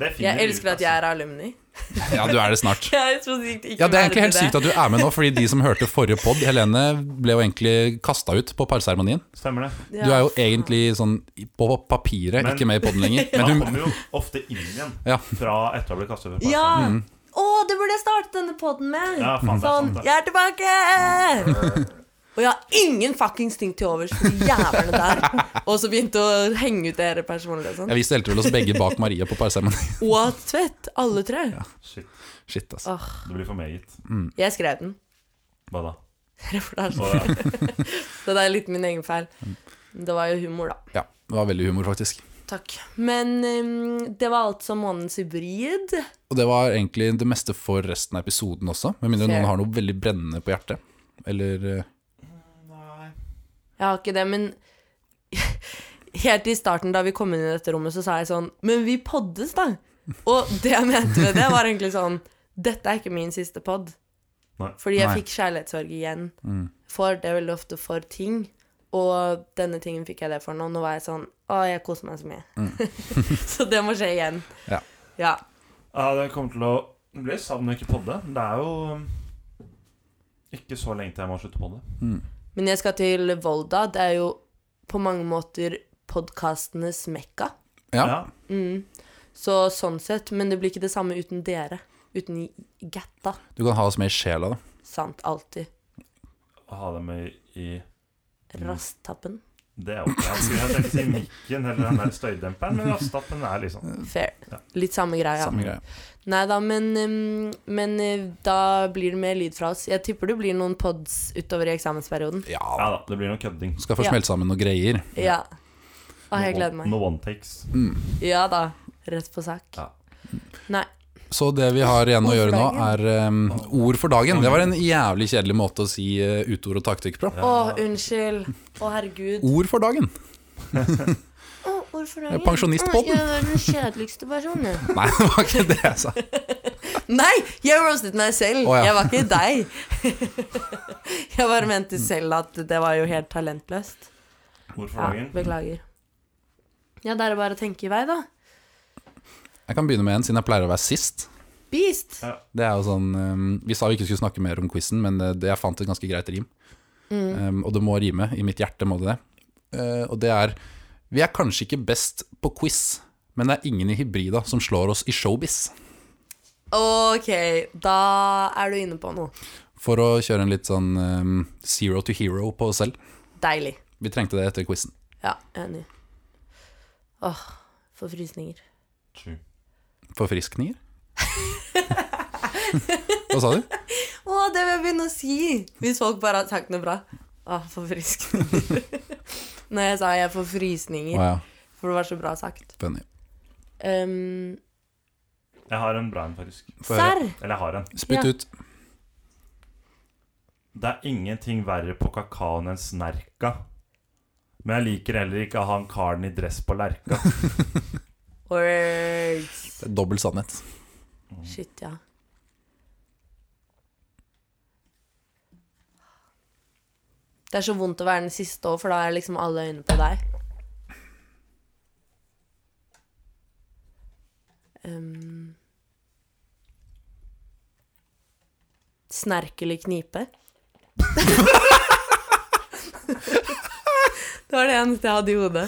[SPEAKER 1] det finner
[SPEAKER 3] Jeg
[SPEAKER 1] vi
[SPEAKER 3] elsker
[SPEAKER 1] ut, altså.
[SPEAKER 3] at jeg er alumni.
[SPEAKER 2] Ja, du er det snart.
[SPEAKER 3] Jeg trodde ikke
[SPEAKER 2] Ja, Det er egentlig helt sykt at du er med nå, fordi de som hørte forrige pod Helene ble jo egentlig kasta ut på parseremonien.
[SPEAKER 1] altså. Stemmer det.
[SPEAKER 2] Du er jo egentlig sånn i- på papiret
[SPEAKER 1] Men-
[SPEAKER 2] ikke med i poden lenger.
[SPEAKER 1] Man
[SPEAKER 2] Men hun,
[SPEAKER 1] kommer jo ofte inn igjen
[SPEAKER 2] Ja.
[SPEAKER 1] fra etter å ha blitt kastet over.
[SPEAKER 3] Ja!
[SPEAKER 2] Mm.
[SPEAKER 3] Å, det burde jeg starte denne poden med!
[SPEAKER 1] Ja, faen, det er
[SPEAKER 3] sånn,
[SPEAKER 1] sant, det.
[SPEAKER 3] jeg er tilbake! Og jeg har ingen fuckings ting til overs for de jævlene der. Og så begynte å henge ut dere personlig og sånn.
[SPEAKER 2] jeg viste helt vel oss begge bak Maria på parseremonien.
[SPEAKER 3] Og Tvedt. Alle tre.
[SPEAKER 1] Shit,
[SPEAKER 2] Shit, altså.
[SPEAKER 1] det blir for meget.
[SPEAKER 3] Jeg skrev den.
[SPEAKER 1] Hva da?
[SPEAKER 3] Reportasje.
[SPEAKER 1] Å, ja.
[SPEAKER 3] Så det er litt min egen feil.
[SPEAKER 2] Mm.
[SPEAKER 3] Det var jo humor, da.
[SPEAKER 2] Ja, det var veldig humor, faktisk.
[SPEAKER 3] Takk. Men ehm, det var altså månedens hybrid.
[SPEAKER 2] Og det var egentlig det meste for resten av episoden også, med mindre
[SPEAKER 3] Fair.
[SPEAKER 2] noen har noe veldig brennende på hjertet. Eller eh,
[SPEAKER 1] Nei.
[SPEAKER 3] Jeg har ikke det, men helt i starten da vi kom inn i dette rommet, så sa jeg sånn Men vi poddes, da! Og det jeg mente med det, var egentlig sånn Dette er ikke min siste pod.
[SPEAKER 1] Nei.
[SPEAKER 3] Fordi jeg
[SPEAKER 2] Nei.
[SPEAKER 3] fikk kjærlighetssorg igjen.
[SPEAKER 2] Mm.
[SPEAKER 3] For det er veldig ofte for ting. Og denne tingen fikk jeg det for nå. Nå var jeg sånn Å, jeg koser meg så mye. så det må skje igjen.
[SPEAKER 2] Mm. Ja.
[SPEAKER 3] ja.
[SPEAKER 1] Ja, det kommer til å bli savn å ikke podde. Det er jo um, ikke så lenge til jeg må slutte å podde.
[SPEAKER 3] Men jeg skal til Volda. Det er jo på mange måter podkastenes mekka.
[SPEAKER 2] Ja.
[SPEAKER 3] Mm. Så sånn sett. Men det blir ikke det samme uten dere. Uten getta.
[SPEAKER 2] Du kan ha oss med i sjela, da.
[SPEAKER 3] Sant. Alltid.
[SPEAKER 1] Å Ha det med i
[SPEAKER 3] Rasttappen.
[SPEAKER 1] det er ok. Jeg skulle tenkt i mikken eller den der støydemperen, men rastappen er liksom
[SPEAKER 3] Fair.
[SPEAKER 1] Ja.
[SPEAKER 3] Litt samme greia.
[SPEAKER 2] Samme greie.
[SPEAKER 3] Nei da, men, um, men uh, da blir det mer lyd fra oss. Jeg tipper det blir noen pods utover i eksamensperioden.
[SPEAKER 2] Ja
[SPEAKER 1] Ja
[SPEAKER 2] da.
[SPEAKER 1] da, det blir noe kødding.
[SPEAKER 2] Skal få
[SPEAKER 3] Ja.
[SPEAKER 2] smelt sammen noen greier.
[SPEAKER 3] Ja. Å, jeg gleder meg.
[SPEAKER 1] No one takes.
[SPEAKER 3] Ja da. Rett på sak.
[SPEAKER 1] Ja.
[SPEAKER 3] Nei.
[SPEAKER 2] Så det vi har igjen å
[SPEAKER 3] Ord for
[SPEAKER 2] gjøre nå, er
[SPEAKER 3] dagen.
[SPEAKER 2] em, ord for dagen. Det var en jævlig kjedelig måte å si eh, utord og taktikk på.
[SPEAKER 3] Å, unnskyld. Å, herregud.
[SPEAKER 2] Ord for dagen.
[SPEAKER 3] Å, hvorfor er
[SPEAKER 2] Jeg er pensjonistpodden.
[SPEAKER 3] Å, Jeg er den kjedeligste personen.
[SPEAKER 2] Nei, det var ikke det jeg sa.
[SPEAKER 3] Nei, jeg roastet meg selv.
[SPEAKER 2] Å, ja.
[SPEAKER 3] Jeg var ikke deg. jeg bare mente selv at det var jo helt talentløst.
[SPEAKER 1] Ord for
[SPEAKER 3] Ja,
[SPEAKER 1] dagen.
[SPEAKER 3] beklager. Ja, det er bare å tenke i vei, da.
[SPEAKER 2] Jeg kan begynne med en, siden jeg pleier å være sist.
[SPEAKER 3] Beast.
[SPEAKER 2] Det er jo sånn, em, Vi sa vi ikke skulle snakke mer om quizen, men eh, det, jeg fant et ganske greit rim. Em, og det må rime. I mitt hjerte må det det. Eh, og det er Vi er kanskje ikke best på quiz, men det er ingen i hybrida som slår oss i showbiz.
[SPEAKER 3] Ok, da er du inne på noe.
[SPEAKER 2] For å kjøre en litt sånn em, zero to hero på oss selv.
[SPEAKER 3] Deilig.
[SPEAKER 2] Vi trengte det etter quizen.
[SPEAKER 3] Ja, enig. Åh, for frysninger.
[SPEAKER 1] True.
[SPEAKER 2] Forfriskninger? Hva sa du?
[SPEAKER 3] Å, det vil jeg begynne å si! Hvis folk bare har sagt noe bra. Åh, for frysninger. Når jeg sa jeg får
[SPEAKER 2] Å
[SPEAKER 3] frysninger,
[SPEAKER 2] ja,
[SPEAKER 3] for det var så bra sagt.
[SPEAKER 2] funny.
[SPEAKER 3] Um,
[SPEAKER 1] Jeg har en bra en, faktisk.
[SPEAKER 2] Få høre.
[SPEAKER 3] serr!
[SPEAKER 1] Eller jeg har en.
[SPEAKER 2] Spytt
[SPEAKER 3] Ja.
[SPEAKER 2] ut.
[SPEAKER 1] Det er ingenting verre på kakaoen enn snerka. Men jeg liker heller ikke å ha en karen i dress på lerka.
[SPEAKER 3] Words.
[SPEAKER 2] Det er Dobbel sannhet.
[SPEAKER 3] Shit, ja. Det er så vondt å være den siste òg, for da er liksom alle øynene på deg. Um, Snerkel i knipe. det var det eneste jeg hadde i hodet.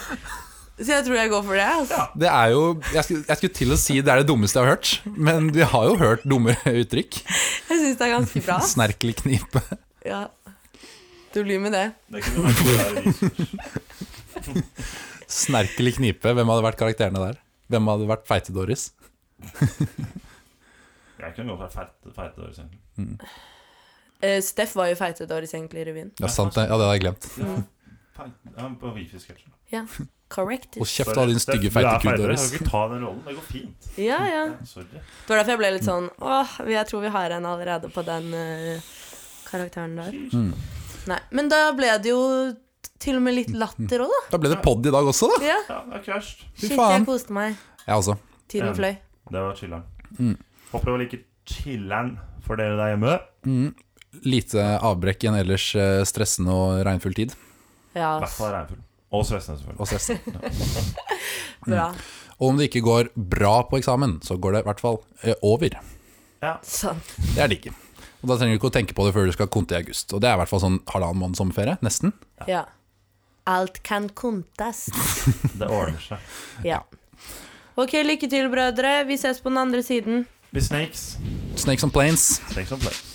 [SPEAKER 3] Så jeg tror jeg går for det. Altså.
[SPEAKER 2] Det er jo jeg skulle, jeg skulle til å si det er det dummeste jeg har hørt, men vi har jo hørt dummere uttrykk.
[SPEAKER 3] Jeg syns det er ganske bra.
[SPEAKER 2] Snerkelig knipe.
[SPEAKER 3] Ja. Du blir med det.
[SPEAKER 1] Det kunne vært bra research.
[SPEAKER 2] Snerkelig knipe. Hvem hadde vært karakterene der? Hvem hadde vært Feite-Doris?
[SPEAKER 1] Jeg kunne gått for feite feit år siden.
[SPEAKER 3] Eh, Steff var jo feite Doris egentlig i revyen.
[SPEAKER 2] Ja, sant det. Ja, det hadde jeg glemt.
[SPEAKER 1] Ja, feit- ja, på Wifi-sketsjen.
[SPEAKER 3] Ja. Correct.
[SPEAKER 2] Hold kjeft, da, din stygge
[SPEAKER 1] Du er
[SPEAKER 2] feite-ku,
[SPEAKER 1] feitere,
[SPEAKER 2] Doris.
[SPEAKER 1] Du kan ikke ta den rollen. Det går fint.
[SPEAKER 3] Ja, ja.
[SPEAKER 1] Ja, sorry.
[SPEAKER 3] Det var derfor jeg ble litt sånn Åh, jeg tror vi har en allerede på den eh, karakteren der. Nei, Men da ble det jo til og med litt latter òg, da.
[SPEAKER 2] Da ble det pod i dag også, da.
[SPEAKER 3] Ja.
[SPEAKER 1] Ja, det er ikke verst.
[SPEAKER 2] Fy
[SPEAKER 3] Shit,
[SPEAKER 2] faen.
[SPEAKER 3] jeg koste meg.
[SPEAKER 2] Jeg også.
[SPEAKER 1] Ja.
[SPEAKER 3] Tiden fløy.
[SPEAKER 1] Det var chiller'n.
[SPEAKER 2] Mm.
[SPEAKER 1] Håper det var like chiller'n for dere der hjemme.
[SPEAKER 2] Mm. Lite avbrekk i en ellers eh, stressende og regnfull tid.
[SPEAKER 3] Ja,
[SPEAKER 1] I hvert fall Reinfjord. Og Svesnes, selvfølgelig.
[SPEAKER 2] Og, stress.
[SPEAKER 3] bra.
[SPEAKER 2] og om det ikke går bra på eksamen, så går det i hvert fall eh, over.
[SPEAKER 1] Ja.
[SPEAKER 3] Sånn.
[SPEAKER 2] Det er digg. Og da trenger du ikke å tenke på det før du skal konte i august. Og det er i hvert fall sånn halvannen måned sommerferie, nesten.
[SPEAKER 3] Ja. Alt kan kontes.
[SPEAKER 1] Det ordner seg.
[SPEAKER 3] Ja. Ok, lykke til, brødre. Vi ses på den andre siden.
[SPEAKER 1] Vi snakes.
[SPEAKER 2] Snakes on planes.
[SPEAKER 1] Snakes on planes.